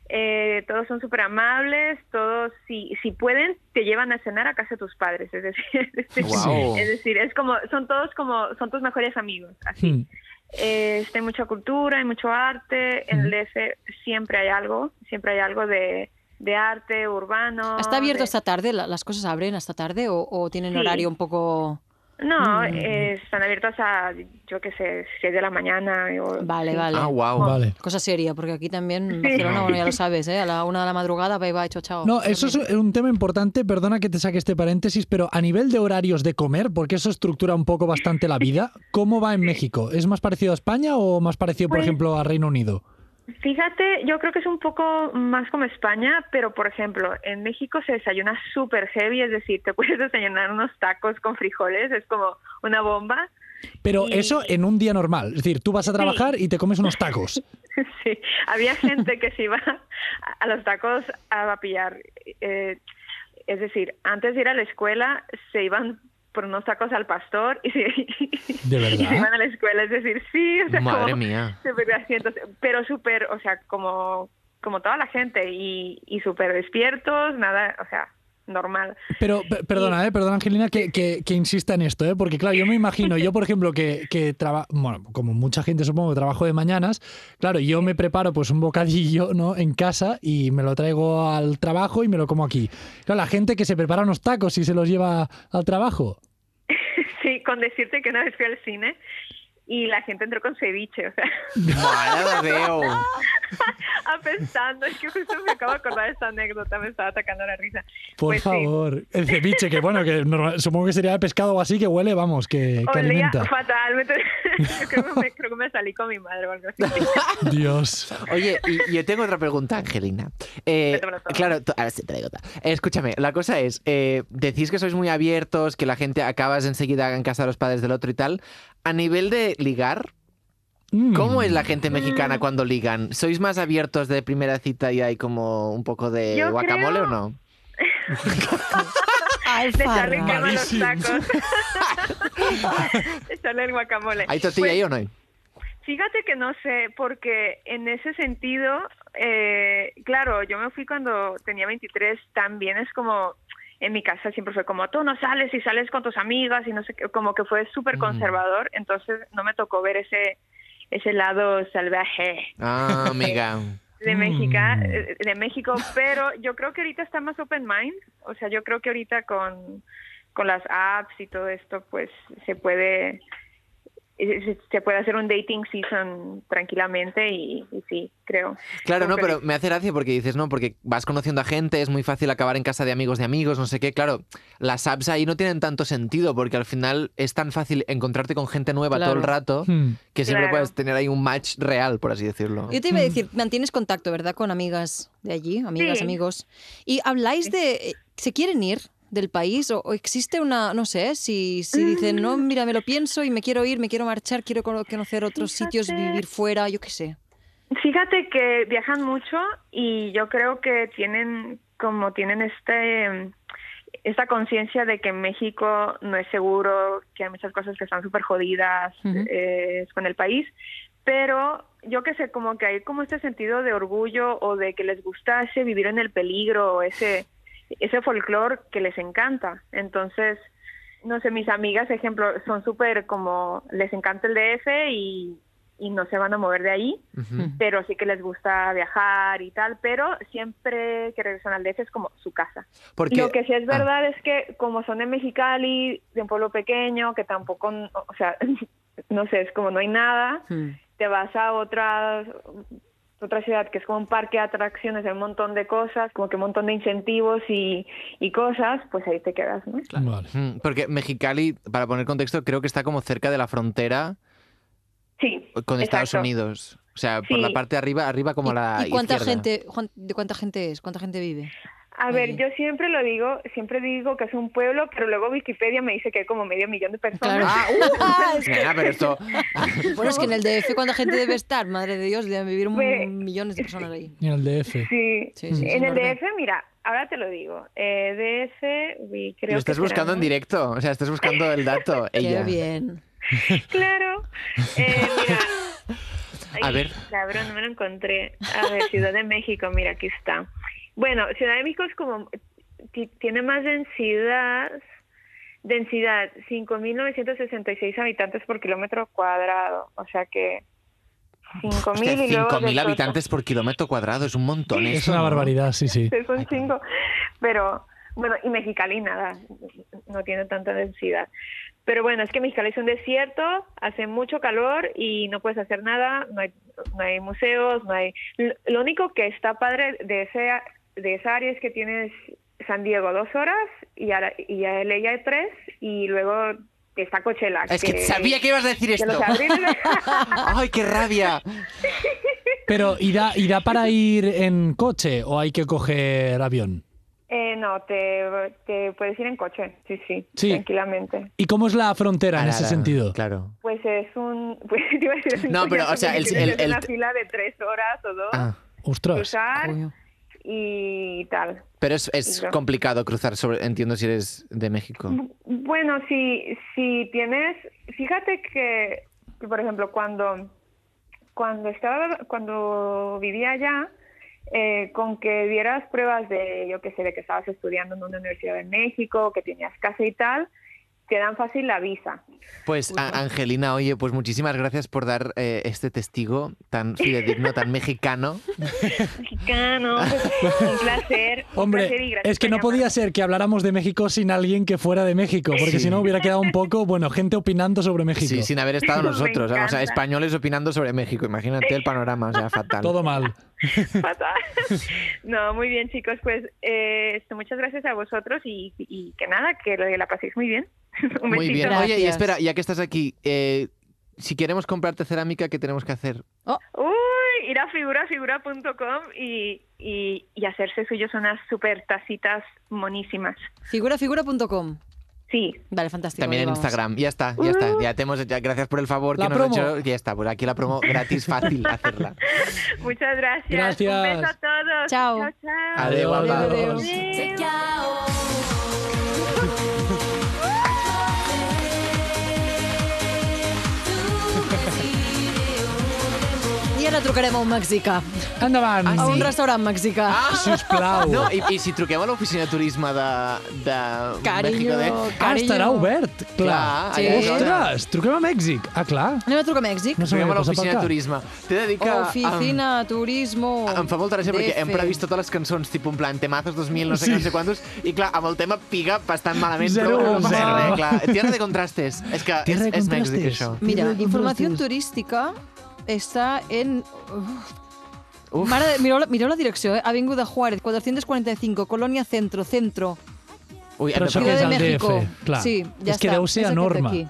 eh, todos son súper amables, todos, si, si pueden, te llevan a cenar a casa de tus padres, es decir, es decir, Guau. es decir, es como, son todos como, son tus mejores amigos, así. Hmm. Eh, este, hay mucha cultura, hay mucho arte. En el DF siempre hay algo, siempre hay algo de, de arte urbano. ¿Está abierto de- hasta tarde? ¿La- ¿Las cosas abren hasta tarde o, o tienen Sí. horario un poco.? No, Mm. eh, están abiertas a, yo qué sé, 6 de la mañana. o- Vale, sí. vale. Ah, wow. Vale. Cosa seria, porque aquí también en Barcelona, bueno, ya lo sabes, ¿eh? A la una de la madrugada, bye bye, chao, chao. No, eso es un tema importante, perdona que te saque este paréntesis, pero a nivel de horarios de comer, porque eso estructura un poco bastante la vida, ¿cómo va en México? ¿Es más parecido a España o más parecido, por Pues- ejemplo, a Reino Unido? Fíjate, yo creo que es un poco más como España, pero por ejemplo, en México se desayuna súper heavy, es decir, te puedes desayunar unos tacos con frijoles, es como una bomba. Pero Y- eso en un día normal, es decir, tú vas a trabajar y te comes unos tacos. Sí, había gente que se iba a- a los tacos a vapillar. eh, es decir, antes de ir a la escuela se iban por unos tacos al pastor y se, ¿De verdad? y se iban a la escuela. Es decir, sí, o sea, Madre como mía. súper grasientos, pero súper, o sea, como, como toda la gente y, y súper despiertos, nada, o sea, normal. Pero, pe- perdona, eh, perdona, Angelina, que, que- que insista en esto, eh, porque claro, yo me imagino, yo por ejemplo, que, que trabajo, bueno, como mucha gente supongo que trabajo de mañanas, claro, yo me preparo pues un bocadillo, ¿no? En casa y me lo traigo al trabajo y me lo como aquí. Claro, la gente que se prepara unos tacos y se los lleva al trabajo. Sí, con decirte que una vez fui al cine y la gente entró con ceviche, o sea, Vaya veo. pensando, es que justo me acabo de acordar de esta anécdota, me estaba atacando la risa. Por Pues sí. favor, el ceviche, que bueno, que normal- supongo que sería de pescado o así, que huele, vamos, que, que Olía alimenta. fatal. me tuve- Yo creo que, me, creo que me salí con mi madre o algo así. Dios. Oye, y yo tengo otra pregunta, Angelina. Eh, Métemelo todo. claro, tú- ahora sí, te digo otra. Eh, Escúchame, la cosa es, eh, decís que sois muy abiertos, que la gente acabas enseguida en casa de los padres del otro y tal. A nivel de ligar, Mm. ¿cómo es la gente Mm. mexicana cuando ligan? ¿Sois más abiertos de primera cita y hay como un poco de Yo guacamole creo- o no? De echarle Alfarra. crema a los Malísimo. tacos. De echarle el guacamole. ¿Hay tortilla Pues, ahí o no hay? Fíjate que no sé, porque en ese sentido, eh, claro, yo me fui cuando tenía 23, también es como, en mi casa siempre fue como, tú no sales y sales con tus amigas y no sé, qué, como que fue súper Mm. conservador, entonces no me tocó ver ese, ese lado salvaje. Ah, amiga. de Mm. México, eh, de México, pero yo creo que ahorita está más open mind, o sea, yo creo que ahorita con, con las apps y todo esto, pues se puede eh, se- se puede hacer un dating season tranquilamente y, y sí, creo. Claro, no, Como que- pero me hace gracia porque dices, no, porque vas conociendo a gente, es muy fácil acabar en casa de amigos de amigos, no sé qué. Claro, las apps ahí no tienen tanto sentido porque al final es tan fácil encontrarte con gente nueva todo el Claro. rato Mm. que siempre Claro. puedes tener ahí un match real, por así decirlo. Yo te iba a decir, mantienes contacto, ¿verdad? Con amigas de allí, amigas, Sí. amigos. ¿Y habláis de... eh, ¿Se quieren ir del país? ¿O, o existe una... No sé, si, si dicen, no, Mm. mira, me lo pienso y me quiero ir, me quiero marchar, quiero cono- conocer otros sitios, Fíjate. vivir fuera, yo qué sé. Fíjate que viajan mucho y yo creo que tienen como tienen este esta conciencia de que México no es seguro, que hay muchas cosas que están súper jodidas Ujú. eh, con el país, pero yo que sé, como que hay como este sentido de orgullo o de que les gustase vivir en el peligro o ese, ese folclore que les encanta. Entonces, no sé, mis amigas, ejemplo, son súper como, les encanta el DF y, y no se van a mover de ahí Ujú. Mm. pero sí que les gusta viajar y tal, pero siempre que regresan al DF es como su casa. Porque... Lo que sí es Ah. verdad es que como son de Mexicali, de un pueblo pequeño, que tampoco, o sea, no sé, es como no hay nada, Hmm. te vas a otra, otra ciudad que es como un parque de atracciones, hay un montón de cosas, como que un montón de incentivos y, y cosas, pues ahí te quedas, ¿no? Vale. Mm, Porque Mexicali, para poner contexto, creo que está como cerca de la frontera Sí. con Estados exacto. Unidos. O sea, por la Sí. parte de arriba, arriba como ¿Y, la y cuánta izquierda. gente, Juan, de cuánta gente es? ¿Cuánta gente vive? A ver, Oye. yo siempre lo digo, siempre digo que es un pueblo, pero luego Wikipedia me dice que hay como medio millón de personas. Claro. Ah, uh, nena, pero esto... Bueno, es que en el DF cuánta gente debe estar, madre de Dios, deben vivir Pues- millones de personas ahí. Ni el DF. Sí. Sí, sí, es en el enorme. DF, mira, ahora te lo digo. Eh, DF, uy, creo Lo estás que buscando será, en ¿no? directo, o sea, estás buscando el dato. Qué Ella. bien. Claro. Eh, mira. A Ay, ver. Cabrón, no me lo encontré. A ver, Ciudad de México, mira, aquí está. Bueno, Ciudad de México es como. ti- Tiene más densidad. Densidad, 5.966 habitantes por kilómetro cuadrado. O sea que. 5.000 Es que y luego 5.000 de habitantes por kilómetro cuadrado es un montón. Es eso, una ¿no? barbaridad, sí, sí. es un chingo. Pero, bueno, y Mexicali nada, no tiene tanta densidad. Pero bueno, es que Mexicali es un desierto, hace mucho calor y no puedes hacer nada, no hay, no hay museos, no hay... L- Lo único que está padre de, ese, de esa área es que tienes San Diego a dos horas y a, la- y a LA hay tres y luego está Coachella. Es que sabía que ibas a decir que esto. los abriles- ¡Ay, qué rabia! Pero, ¿y da, ¿y da para ir en coche o hay que coger avión? Eh, no, te, te puedes ir en coche, sí, sí, Sí. tranquilamente. ¿Y cómo es la frontera en ese Arara, sentido? Claro. Pues es un... Pues, te iba a decir un No, pero, coñazo, o sea, el- porque tienes el- una el- fila de tres horas o dos, Ah, Ostras. cruzar Coño. y tal. pero es, es No. complicado cruzar, sobre, entiendo si eres de México. Bu- Bueno, si, si tienes, fíjate que, que, por ejemplo, cuando, cuando estaba, cuando vivía allá, eh, con que dieras pruebas de, yo qué sé, de que estabas estudiando en una universidad de México, que tenías casa y tal, te dan fácil la visa. Pues a- Angelina, oye, pues muchísimas gracias por dar eh, este testigo tan fidedigno, tan mexicano. Mexicano, un placer. Hombre, es que no podía ser que habláramos de México sin alguien que fuera de México, porque Sí. si no hubiera quedado un poco, bueno, gente opinando sobre México. Sí, sin haber estado Me nosotros. O sea, encanta. españoles opinando sobre México. Imagínate el panorama, o sea, fatal. Todo mal. Fatal. No, muy bien, chicos. Pues eh, esto, muchas gracias a vosotros y, y que nada, que lo- la paséis muy bien. Un Muy besito. bien. Oye, y Gracias. espera, ya que estás aquí, eh, si queremos comprarte cerámica, ¿qué tenemos que hacer? Uy, ir a figurafigura.com y, y, y hacerse suyos unas super tacitas monísimas. Figurafigura.com. Sí, Vale, fantástico. También en vamos. Instagram. Ya está, ya está. Ya te hemos hecho- Gracias por el favor Uh. La que nos has promo. hecho. Ya está, pues aquí la promo gratis, fácil hacerla. muchas gracias. Gracias. Un beso a todos. Chao. Chao, chao. Adiós, guapa. Adiós. Take out. I ara trucarem a un mexicà. Endavant. A un restaurant mexicà. Ah, Sisplau. No, i, i si truquem a l'oficina de turisme de, de México Carinyo, de... Ah, carinyo. estarà obert, clar. Clar, Sí. allà és hora. Ostres, truquem a Mèxic. Ah, clar. Anem a trucar a Mèxic? No se Truquem m'havia a passat pel l'oficina de cap. turisme. T'he de dir que... em- Oficina, turismo... Em fa molta gràcia perquè hem DF. previst totes les cançons, tipus en plan temazos 2000, no sé sí. què, no sé quantos, i clar, amb el tema piga bastant malament, Zero, però no passa zero. res, clar. Tierra de contrastes. És que Tierra de és, és Mèxic, contrastes. això. Mira, Tiene información contrastes. turística está en... Uf. Mare de- mireu, la, mireu la direcció, eh? Avinguda Juárez, 445, Colonia Centro, Centro. Ui, hem Però de això Ciudad que parlar. és de el México. DF, clar. Sí, ja és que està, deu ser és aquest enorme. d'aquí.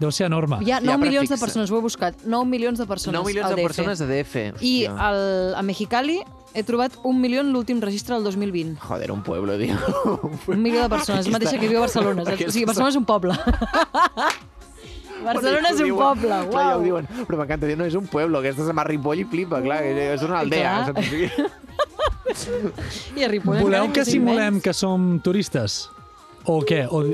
Deu ser enorme. Hi ha 9 però milions de fixa. persones, ho he buscat, 9 milions de persones 9 milions al de DF. persones de DF. I hòstia. al, a Mexicali he trobat un milió en l'últim registre del 2020. Joder, un pueblo, tio. Un milió de persones, Aquí la mateixa està. que viu a Barcelona. Saps? O sigui, Aquesta- Barcelona és un poble. Barcelona és un poble, Clar, ja ho uau. diuen. Però m'encanta dir, no, és un pueblo, aquesta se m'ha ripoll i flipa, clar, que és una aldea. Clar. saps? O sigui, I a Ripoll Voleu encara que és simulem immens. que som turistes? O què? O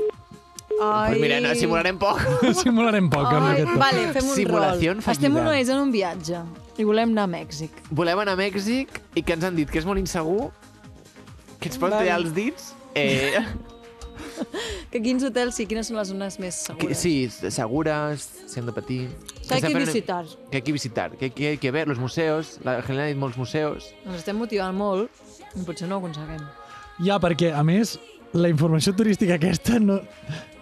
Ai. Pues mira, no, simularem poc. simularem poc amb Ai, aquest to. Vale, fem un Simulació rol. fallida. Estem un mes en un viatge i volem anar a Mèxic. Volem anar a Mèxic i que ens han dit que és molt insegur, que ens poden Vale. tallar els dits. Eh, Que quins hotels sí, quines són les zones més que, segures. sí, segures, si han de patir... Que hay Estem que fent- visitar. Que hay que visitar, que, que hay que ver, los museos, la Angelina ha dit molts museus. Ens estem motivant molt i potser no ho aconseguim. Ja, perquè, a més, la informació turística aquesta no...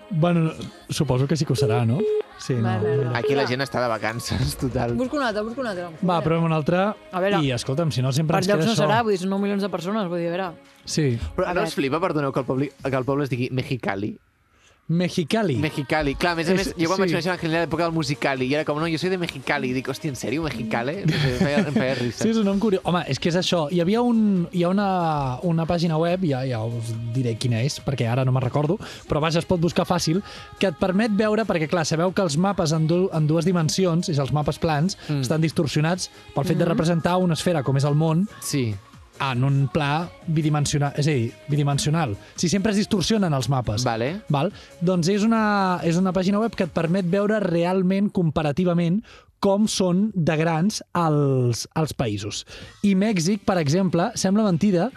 Bueno, no- suposo que sí que ho serà, no? Sí, no. Vale, vale. Aquí la gent està de vacances, total. Busco un altre, busco un altre. Va, provem una altra. A veure. I, escolta'm, si no sempre Per ens llocs queda no això. serà, vull dir, són 9 milions de persones, vull dir, a veure... Sí. Però A no veure. us flipa, perdoneu, que el poble, que el poble es digui Mexicali? Mexicali. Mexicali. Clar, a més a És- més, jo quan sí. vaig conèixer l'Angelina a l'època del Musicali, i era com, no, jo soy de Mexicali. I dic, hòstia, en sèrio, Mexicali? No sé, em feia, em feia risa. Sí, és un nom curiós. Home, és que és això. Hi havia un, hi ha una, una pàgina web, ja, ja us diré quina és, perquè ara no me'n recordo, però vaja, es pot buscar fàcil, que et permet veure, perquè clar, sabeu que els mapes en, du, en dues dimensions, és els mapes plans, mm. estan distorsionats pel fet de representar una esfera com és el món Sí. en un pla bidimensional, és a dir, bidimensional. Si sempre es distorsionen els mapes. Vale. Val? Doncs és una, és una pàgina web que et permet veure realment, comparativament, com són de grans els, els països. I Mèxic, per exemple, sembla mentida,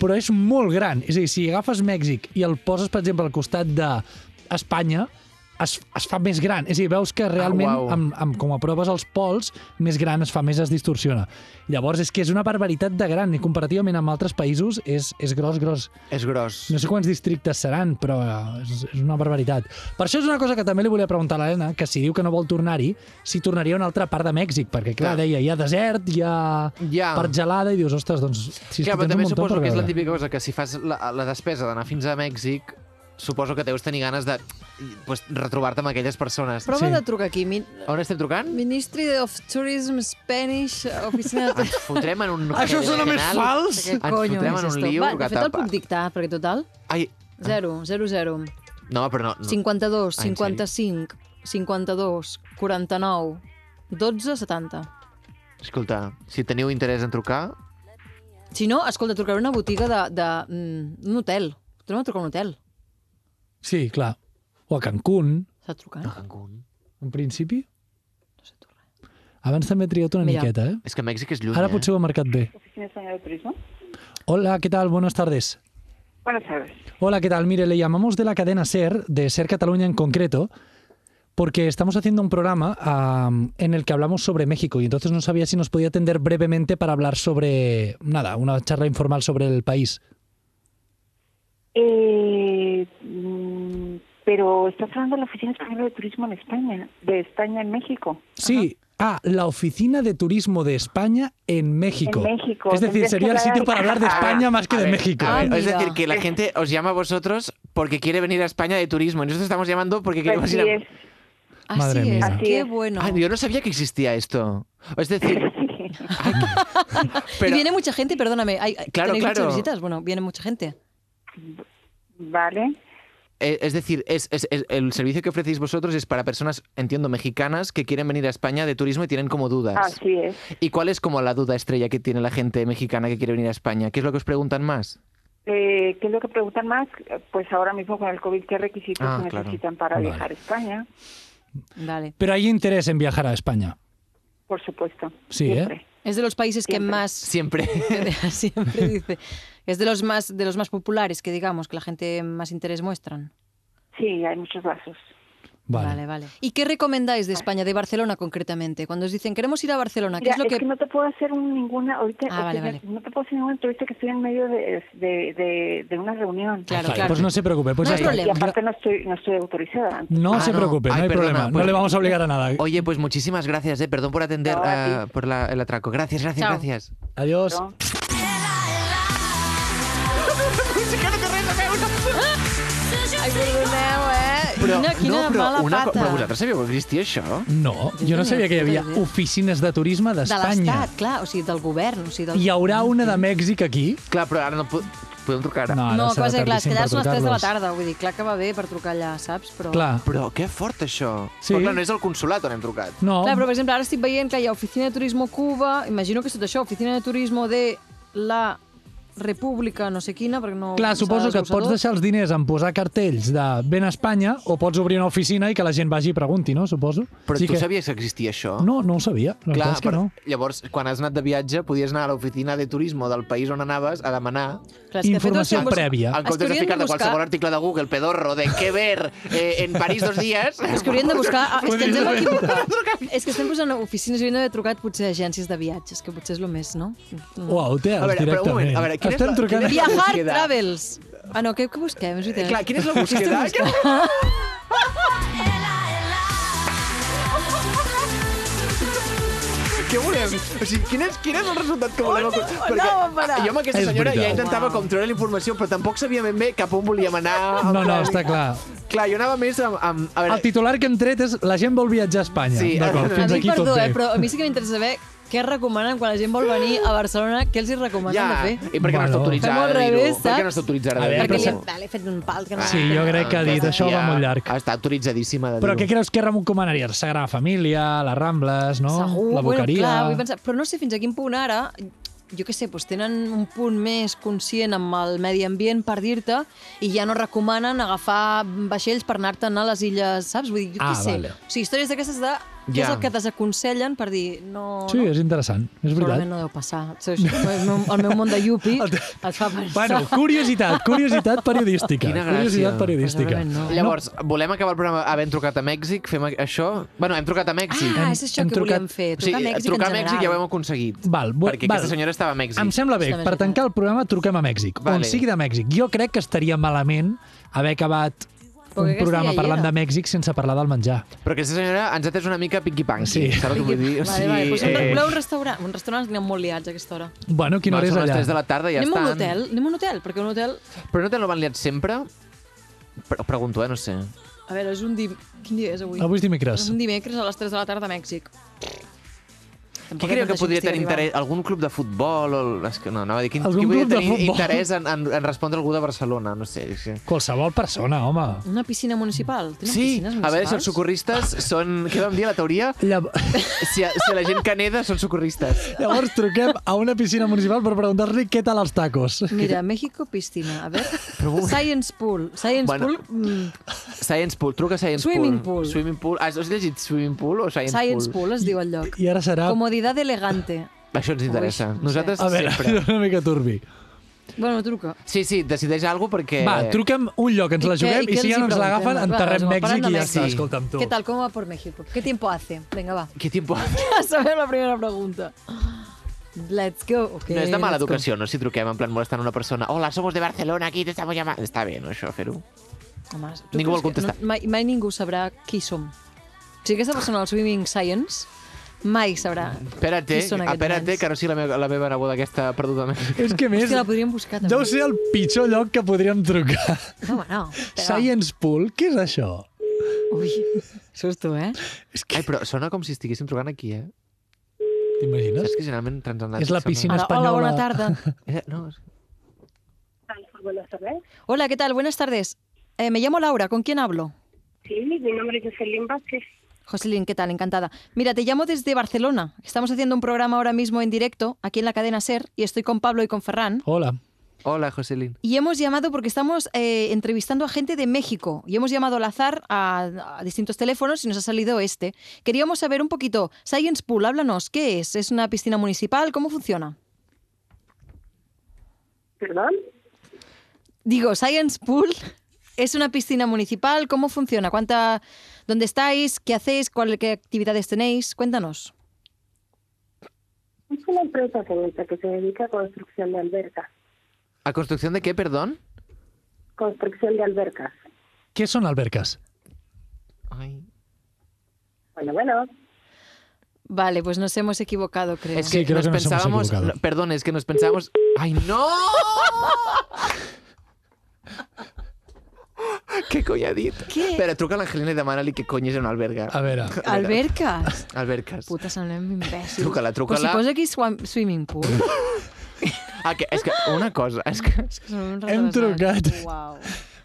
però és molt gran. És a dir, si agafes Mèxic i el poses, per exemple, al costat de Espanya, es, es fa més gran. És a dir, veus que realment, Ah, uau. amb, amb, com aproves els pols, més gran es fa, més es distorsiona. Llavors, és que és una barbaritat de gran i comparativament amb altres països és, és gros, gros. És gros. No sé quants districtes seran, però eh, és, és una barbaritat. Per això és una cosa que també li volia preguntar a l'Helena, que si diu que no vol tornar-hi, si tornaria a una altra part de Mèxic, perquè, clar, Clar. deia, hi ha desert, hi ha Ja. part gelada, i dius, ostres, doncs... Si és que Clar, tens però un també muntó suposo per que és la veure. típica cosa que si fas la, la despesa d'anar fins a Mèxic, suposo que deus tenir ganes de pues, retrobar-te amb aquelles persones. Prova Sí. de trucar aquí. Min On estem trucant? Ministry of Tourism Spanish, oficina de... Ens fotrem en un... Això sona més general. fals! Què Ens conyo fotrem és en un esto? lío Va, que de fet el tapa. puc dictar, perquè total... Ai, 0, 0, 0. no, però no. no. 52, Ah, en 55, 52, 49, 12, 70. Escolta, si teniu interès en trucar... Si no, escolta, trucaré a una botiga de... de mm, un hotel. Tornem a trucar a un hotel. Sí, clar. O a Cancún, Estàs trucant? A Cancún. en principi. No sé tu res. Abans també he triat una Mira. miqueta, eh? És que Mèxic és lluny, Ara eh? potser ho he marcat bé. ¿Oficina Española de Turismo? Hola, ¿qué tal? Buenas tardes. Buenas tardes. Hola, ¿qué tal? Mire, le llamamos de la cadena SER, de SER Cataluña en concreto, porque estamos haciendo un programa am, en el que hablamos sobre México y entonces no sabía si nos podía atender brevemente para hablar sobre, nada, una charla informal sobre el país. Eh, mm, pero estás hablando de la Oficina Española de Turismo en España, de España en México. Sí, ah, la Oficina de Turismo de España en México. En México, Es decir, tendrías sería que el sitio hablar- para hablar de España más que Ah, A de ver, México. ¿eh? a ver, Ah, es mira. decir, que la gente os llama a vosotros porque quiere venir a España de turismo. Y nosotros estamos llamando porque Pues queremos Así ir a... Pues es. Así Madre es, mía. Así qué es. bueno. Ay, yo no sabía que existía esto. Es decir... ay, qué- Y pero- viene mucha gente, perdóname. Ay, ay, Claro, ¿Tenéis claro. muchas visitas? Bueno, viene mucha gente. Vale. Eh, Es decir, es, es- es- el servicio que ofrecéis vosotros es para personas, entiendo, mexicanas que quieren venir a España de turismo y tienen como dudas. Así es. ¿Y cuál es como la duda estrella que tiene la gente mexicana que quiere venir a España? ¿Qué es lo que os preguntan más? Eh, ¿Qué es lo que preguntan más? Eh, Pues ahora mismo con el COVID, ¿qué requisitos Ah, se claro. necesitan para Vale. viajar a España? Vale. Pero hay interés en viajar a España. Por supuesto. Sí, ¿eh? siempre. Es de los países que Siempre. más... Siempre. Siempre dice. Es de los más de los más populares que digamos que la gente más interés muestran. Sí, hay muchos lazos. Vale. vale. vale. ¿Y qué recomendáis de España, de Barcelona concretamente? Cuando os dicen queremos ir a Barcelona, Ah, ¿qué Mira, es lo que, no te puedo hacer un- ninguna ahorita. Ah, o vale, sea, vale. No te puedo hacer ninguna entrevista que estoy en medio de, de, de- de una reunión. Claro, Vale, claro. Pues no se preocupe. Pues No ya hay está. Y problema. aparte no estoy, no estoy autorizada. No Ah, se no. preocupe, Ay, no hay perdona, problema. pues- No le vamos a obligar a nada. Oye, pues muchísimas gracias, eh. Perdón por atender No, a ah, por la- el atraco. Gracias, gracias, Chao. gracias. Adiós. ¿no? ¿eh? Però, Quina- quina no, però, mala una, co- pata. però vosaltres sabíeu que existia això? No, jo Jo no tenia sabia que hi havia puta idea. oficines de turisme de d'Espanya. l'Estat, clar, o sigui, del govern, o sigui, del... Hi haurà una de Mèxic aquí? Clar, però ara no po- podem trucar. Ara. ara No, que serà va ser, clar, és que tardíssim per allà són les 3 de la trucar-los. tarda, vull dir, clar que va bé per trucar allà, saps? Però... Clar, Però que fort, això. Sí. Però, clar, no és el consulat on hem trucat. no, Clar, però per exemple, ara estic veient que hi ha Oficina de Turismo Cuba, imagino que és tot això, Oficina de Turismo de la República no sé quina, perquè no... clar suposo que et pots deixar els diners en posar cartells de ben a Espanya o pots obrir una oficina i que la gent vagi i pregunti, no? Suposo. Però Sí tu que... sabies que existia això? No, no ho sabia. La Clar, veritat és que però no. llavors, quan has anat de viatge, podies anar a l'oficina de turisme del país on anaves a demanar, Clar, és que de fet, Informació els seus- prèvia. en És que comptes de haurien de ficar de buscar- qualsevol article de Google, pedorro, de què ver eh, en París dos dies... És que haurien de buscar... Ah, és que ens hem Podries equivocat. És que estem posant oficines, haurien d'haver trucat potser a agències de viatges, que potser és el més, no? O a hotels, A veure, però un directament. moment, a veure, quina és Estem la- trucant... quina és la- Viajar Queda. Travels. Ah, no, què, què busquem? És veritat. Clar, quina és la búsqueda? Què volem? O sigui, quin és, quin és el resultat que volem? acu- Perquè anàvem a parar? jo amb aquesta És senyora ja veritat. intentava com treure la informació, però tampoc sabia ben bé cap on volíem anar. No, no, Clar, està clar. Clar, jo anava més amb... amb a El veure, titular que hem tret és la gent vol viatjar a Espanya. Sí, D'acord, a fins a mi, aquí tot perdó, bé. eh, però a mi sí que m'interessa saber què recomanen quan la gent vol venir a Barcelona, què els hi recomanen ja, de fer. i per què no Bueno. està Fem al autoritzada de revés, dir-ho? Per saps? què no està autoritzada A de veure, Perquè li, dir-ho? Doncs, però- vale, he fet un pal que no... Sí, jo crec que ha dit això va molt llarg. Està autoritzadíssima de dir-ho. Però què creus que recomanaries? Sagrada Família, les Rambles, no? Segur, Oh, la Boqueria... Bueno, clar, vull pensar, però no sé fins a quin punt ara, jo què sé, doncs tenen un punt més conscient amb el medi ambient per dir-te i ja no recomanen agafar vaixells per anar-te'n a les illes, saps? Vull dir, jo Ah, què sé. vale. O sigui, històries d'aquestes de Què és Ja. el que desaconsellen per dir no... Sí, no? és interessant, és Segurament veritat. no deu passar. O sigui, El meu, el meu món de yupi El et te- fa pensar... Ah, Bueno, curiositat, curiositat periodística. Quina gràcia. Curiositat periodística. Segurament no. Llavors, volem acabar el programa havent trucat a Mèxic? Fem això? Bueno, hem trucat a Mèxic. Ah, és això hem que trucat- volíem fer. Trucar a Mèxic trucar en a Mèxic general. ja ho hem aconseguit. Val, bu- perquè val. aquesta senyora estava a Mèxic. Em sembla bé, Està per veritat. tancar el programa truquem a Mèxic, Vale. on sigui de Mèxic. Jo crec que estaria malament haver acabat Perquè un aquesta programa ja hi parlant era. de Mèxic sense parlar del menjar. Però aquesta senyora ens ha tret una mica piqui-panqui. Sí. Saps el que vull dir? O Vale, vale. Pues un, eh, voleu un restaurant? Un restaurant anem molt liats a aquesta hora. Bueno, quina no, hora és són les allà? 3 de la tarda i ja anem a estan. un hotel? Anem a un hotel? Perquè un hotel... Però no te lo van liat sempre? Pre pregunto, eh? No sé. A veure, és un dim... Quin dia és avui? Avui és dimecres. És un dimecres a les 3 de la tarda a Mèxic. Qui Tampoc creu em que deixo podria estic tenir arribant. interès? Algun club de futbol? O... el- És que no, anava a dir, quin, Algun qui podria club de tenir futbol? interès en, en, en respondre algú de Barcelona? No sé. és que- Qualsevol persona, home. Una piscina municipal? Tenen Sí, piscines a veure si municipals? els socorristes són... Què vam dir, la teoria? Llav Si, si la gent que neda són socorristes. Llavors truquem a una piscina municipal per preguntar-li què tal els tacos. Mira, México piscina. A veure, Science Pool. Science Bueno. Pool... mm, Science Pool, truca a Science Swimming Pool. pool. Swimming Pool. Has, has llegit Swimming Pool o Science, Science Pool es diu el lloc. I ara serà... Comodidad elegante. Això ens interessa. Ui, no Nosaltres A veure, sempre. una mica turbi. Eh. Bueno, truca. Sí, sí, decideix alguna perquè... Va, truca'm un lloc, ens I la què- juguem, i i, què si ja els hi no ens l'agafen, preguntem? enterrem Va, Mèxic parlant i de ja Mèxic. està, escolta'm tu. ¿Qué tal? ¿Cómo va por México? ¿Qué tiempo hace? Venga, va. Qué tiempo... A saber la primera pregunta. Let's go. Okay, No és de mala let's go. educació, no? Si truquem en plan molestant una persona. Hola, somos de Barcelona, aquí t'estamos llamando. Està bé, no, això, fer-ho. Home, tu creus Ningú vol que contestar. No, mai, mai ningú sabrà qui som. Si aquesta persona del Swimming Science mai sabrà Espera't, eh? qui són aquests Espera't, eh, nens. que no sigui la meva, la meva neboda aquesta perduda. És que a més, Hòstia, la podríem buscar, també. deu ser el pitjor lloc que podríem trucar. No, home, no. Però... Science Pool, què és això? Ui, susto, eh? És Ai, que, però sona com si estiguéssim trucant aquí, eh? t'imagines? Saps que generalment transatlàntic... És la sona- piscina. Hola, hola, espanyola. bona tarda. Eh, No, és- Buenas tardes. Hola, ¿qué tal? Buenas tardes. Eh, me llamo Laura, ¿con quién hablo? Sí, mi nombre es Jocelyn Vázquez. Joselín, ¿qué tal? Encantada. Mira, te llamo desde Barcelona. Estamos haciendo un programa ahora mismo en directo, aquí en la cadena SER, y estoy con Pablo y con Ferran. Hola. Hola, Joselín. Y hemos llamado porque estamos eh, entrevistando a gente de México y hemos llamado al azar a, a distintos teléfonos y nos ha salido este. Queríamos saber un poquito, Science Pool, háblanos, ¿qué es? ¿Es una piscina municipal? ¿Cómo funciona? ¿Perdón? Digo, Science Pool es una piscina municipal, ¿cómo funciona? ¿Cuánta, ¿Dónde estáis? ¿Qué hacéis? ¿Cuál, ¿Qué actividades tenéis? Cuéntanos. Es una empresa señorita, que se dedica a construcción de albercas. ¿A construcción de qué, perdón? Construcción de albercas. Què són alberques? Ay. Bueno, bueno. Vale, pues nos hemos equivocado, creo. Es que, Sí, creo nos que nos hemos pensábamos... equivocado. no, perdón, es que nos pensábamos... ¡Ay, no! ¡Qué colladito! Què? Però truca a l'Angelina i demana-li que cony és una alberga. A veure, Albercas. Albercas. Puta, sonem imbècils. Truca-la, Pues si truca-la. posa aquí swam- swimming pool. Ah, que, és que una cosa, és que... És que són uns Hem retrasats. trucat. Uau.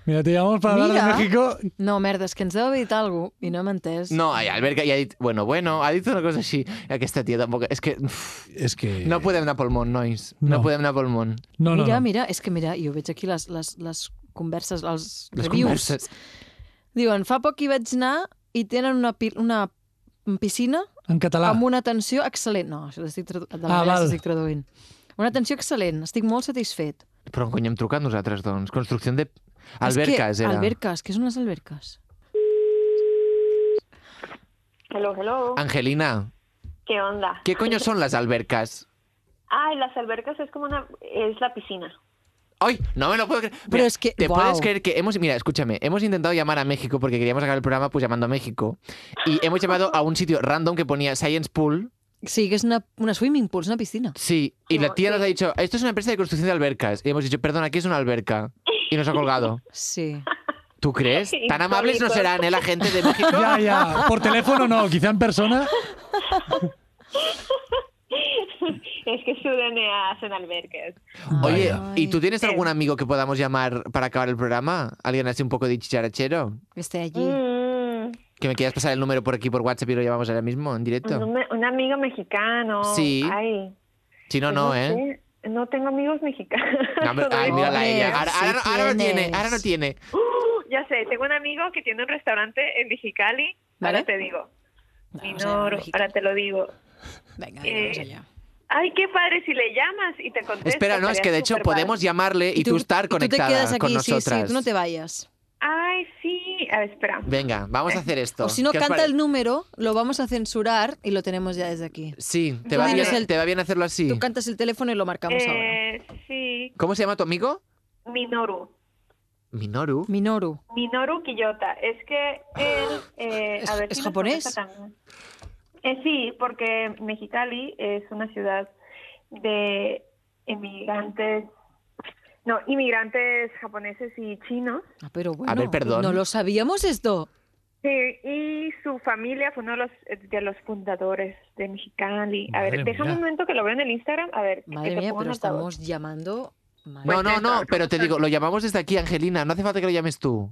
mira, te llamamos para hablar de Mira. México. No, merda, és que ens deu haver dit alguna cosa i no hem entès. No, ai, alberga ja ha dit... Bueno, bueno, ha dit una cosa així. Aquesta tia tampoc... És que... uf, És que... No podem anar pel món, nois. No, No. podem anar pel món. no, no, mira, no. mira, és que mira, jo veig aquí les, les, les converses, els Les reviews. converses. Diuen, fa poc hi vaig anar i tenen una, pil- una piscina En català. amb una atenció excel·lent. No, això l'estic tradu... de Ah, la ah, val. estic traduint. Una atenció excel·lent, estic molt satisfet. Però on cony hem trucat nosaltres, doncs? Construcció de... és Albercas, que, era. Albercas, què són les albercas? Hello, hello. Angelina, ¿Qué onda? ¿qué coño son las albercas? Ah, Ay, las albercas es como una... es la piscina. ¡Ay! No me lo puedo creer. Pero es que- ¿Te guau. puedes creer que hemos. Mira, escúchame. Hemos intentado llamar a México porque queríamos acabar el programa pues llamando a México. Y hemos llamado a un sitio random que ponía Science Pool. Sí, que és una, una swimming pool, és una piscina. Sí. Y la tía nos ha dicho: Esto es una empresa de construcción de albercas. Y hemos dicho: Perdón, aquí es una alberca. Y nos ha colgado. Sí. ¿Tú crees? Tan amables no Insólito. serán, ¿eh? La gente de México. Ja, ja. Por teléfono no, quizá en persona. es que su DNA hacen albercas. Oye, Vaya. ¿y tú tienes algún amigo que podamos llamar para acabar el programa? ¿Alguien así un poco de chicharachero? Este allí. Mm, Que me quieras pasar el número por aquí por WhatsApp y lo llamamos ahora mismo en un, directo. ame- un amigo mexicano. Sí. Ay, Si no, pues no, ¿eh? sé, No tengo amigos mexicanos. No, pero- ay, todavía. mírala a ella. Joder, Ahora, ah. ahora no- sí ahora no tiene, tienes. ahora no tiene. Uh, Ya sé, tengo un amigo que tiene un restaurante en Mexicali. ¿Vale? Ahora te digo. Y Vamos no, allá, México. ahora te lo digo. Venga, Eh, vamos allá. Ay, qué padre si le llamas y te contesta. Espera, no, es estaría que de hecho súper podemos padre. llamarle y, tú, estar conectada te quedas aquí, con nosotras. Sí, sí, tú no te vayas. Ay, sí. A ver, espera. Venga, vamos a hacer esto. O si no, ¿Qué os canta pare- el número, lo vamos a censurar y lo tenemos ya desde aquí. Sí, te Tú va, bien, dinos el- te va bien hacerlo así. Tú cantas el teléfono y lo marcamos ahora. Eh, sí, ¿Cómo se llama tu amigo? Minoru. Minoru. Minoru. Minoru Kiyota. Es que él... eh, Ah, ¿Es- a ver es si nos japonés? contesta también. Eh, sí, porque Mexicali es una ciudad de inmigrantes... No, inmigrantes japoneses y chinos. Ah, pero bueno, ver, perdón. no lo sabíamos esto. Sí, y su familia fue uno de los, de los fundadores de Mexicali. A ver, Madre déjame mía. un momento que lo veo en el Instagram. A ver, que Madre te mía, pongo pero un altavoz. estamos llamando... Madre No, Pues mía. no, no, pero te digo, lo llamamos desde aquí, Angelina. No hace falta que lo llames tú.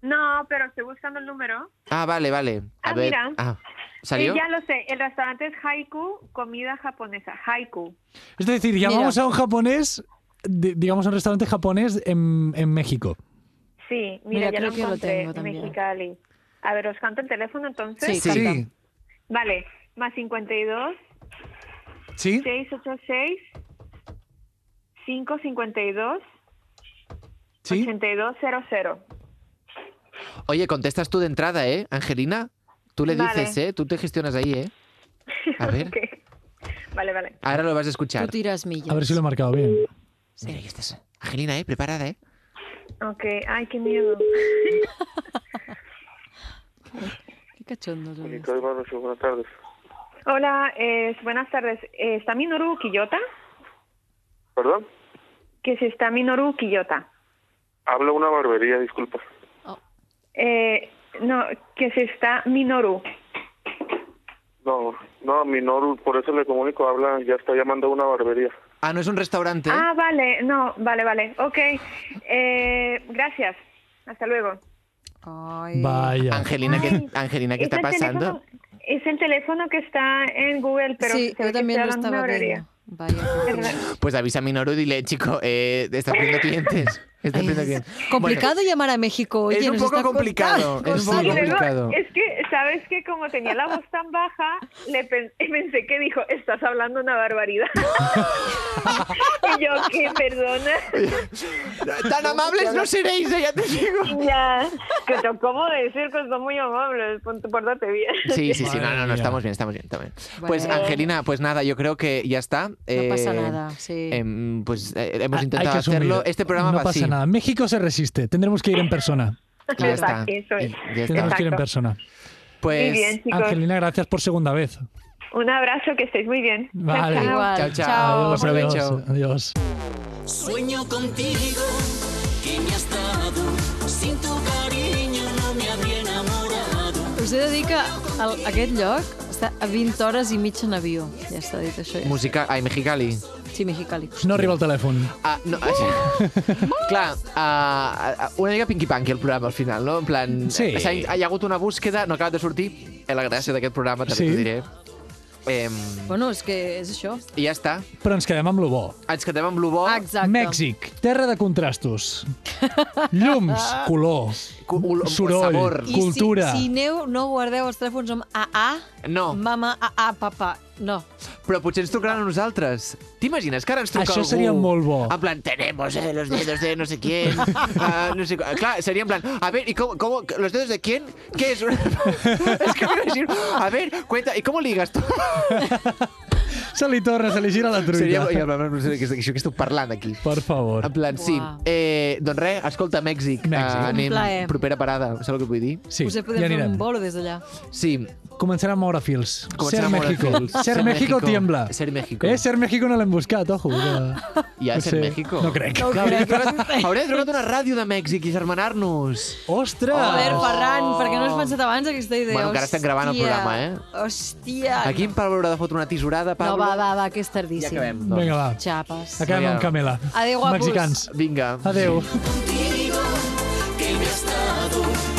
No, pero estoy buscando el número. Ah, vale, vale. A Ah, ver. mira. Ah, ¿Salió? Sí, ya lo sé. El restaurante es Haiku, comida japonesa. Haiku. Es decir, llamamos a un japonés, di- digamos a un restaurante japonés en, en México. Sí, Mira, mira, ya creo lo que lo encontré tengo en también. Mexicali. A ver, ¿os canto el teléfono entonces? Sí, canta. Vale, más 52 sí. 686 552 ¿Sí? 8200. Oye, contestas tú de entrada, ¿eh, Angelina? Tú le Vale. dices, ¿eh? Tú te gestionas ahí, ¿eh? A ver. Ok. Vale, vale. Ahora lo vas a Tú escuchar. tiras millas. A ver si lo he marcado bien. Sí. Mira, ahí estás. Angelina, ¿eh? Preparada, ¿eh? Ok, ay, qué miedo. Qué cachondo. lo ves. Ricardo Barroso, buenas tardes. Hola, eh, buenas tardes. Eh, ¿Está Minoru Quillota? ¿Perdón? Que si está Minoru Quillota. Habla una barbería, disculpa. Eh, no, que si está Minoru. No, no, Minoru, por eso le comunico, habla, ya está llamando a una barbería. Ah, no es un restaurante. ¿eh? Ah, vale, no, vale, vale, ok. Eh, gracias, hasta luego. Ay. Vaya. Angelina, ¿qué, Ay, Angelina, ¿qué Es está el pasando? teléfono- es el teléfono que está en Google, pero sí, se ve yo que también lo estoy hablando estaba de viendo. barbería. Vaya. qué ¿Verdad? Pues avisa a Minoru y dile, chico, eh, estás perdiendo clientes. Estás perdiendo Es clientes. Bueno, complicado llamar a México. Oye, es un nos poco está complicado. costando- Es un poco Y costando. luego, complicado. es que, ¿sabes que Como tenía la voz tan baja, le pen- pensé que dijo, estás hablando una barbaridad. y yo, ¿qué? Perdona. Tan amables no seréis, eh, ya te digo. ya, que tocó decir que son muy amables, pon- pórtate bien. Sí, sí, sí, no, Madre no, no, mía. estamos bien, estamos bien, estamos bien. Pues Bueno. Angelina, pues nada, yo creo que ya está. No pasa Eh, nada, sí. em, pues eh, hemos Ha- intentado hay que asumir. hacerlo. Este programa no va pasa así. nada. México se resiste. Tendremos que ir en persona. Y ya está. Eso Y es. ya está. Tendremos que ir en Exacto. persona. Pues Muy bien, chicos. Angelina, gracias por segunda vez. Un abrazo, que estéis muy bien. Vale. Igual. Chao, chao. Adiós, Buen adiós, provecho. adiós. Sueño contigo, que me has dado. Sin tu cariño no me habría enamorado. Us he de dir que el, aquest lloc està a 20 hores i mitja en avió. Ja està dit això. Ja. Música. Ay, Mexicali. Sí, Mexicali. No arriba el telèfon. Ah, no, clar, ah, una mica pinky-punky el programa al final, no? En plan, Sí. s'ha- hi ha hagut una búsqueda, no ha acabat de sortir, és la gràcia d'aquest programa, també Sí. t'ho diré. Em, Bueno, és que és això. I ja està. Però ens quedem amb lo bo. Ens quedem amb lo bo. Exacte. Oh, Mèxic, terra de contrastos. Llums, color, cu- olor- soroll, sabor. I cultura. Si, si aneu, no guardeu els telèfons amb AA, No, mama, AA, papa. No. però potser ens trucaran a nosaltres. T'imagines que ara ens truca Això algú? seria molt bo. En plan, tenemos eh, los dedos de no sé quién. ah, no sé, cu- clar, seria en plan, a ver, ¿y cómo, cómo, los dedos de quién? ¿Qué es? es que me imagino, a ver, cuenta, ¿y cómo ligas tú? Se li torna, se li gira la truita. Seria, i en plan, no sé de què, això que esteu parlant aquí. Per favor. En plan, sí. Uau. Eh, doncs res, escolta, Mèxic. Mèxic. Eh, anem, Un plaer. propera parada, saps el que vull dir? Sí, Us he ja pogut fer anirem. un bolo des d'allà. Sí. Començarà a moure fils. Començarà Ser a moure México. fils. Ser, Ser México, México. tiembla. Ser México. Eh, Ser México no l'hem buscat, ojo. Que... I a No ser sé. México. No crec. No ho Hauria de crec. trucar- hauria de trucar a una ràdio de Mèxic i germanar-nos. Ostres! Joder, Ferran, per què no has pensat abans aquesta idea? Bueno, encara estem gravant el programa, eh? Hòstia. Aquí en Pablo haurà de fotre una tisorada, Ah, No, Pablo. va, va, va, que és Ja tardíssim. acabem. doncs. Vinga, va. Xapes. Acabem amb Camela. Adéu, guapos. Mexicans. Vinga. Adéu. Contigo, que me has dado.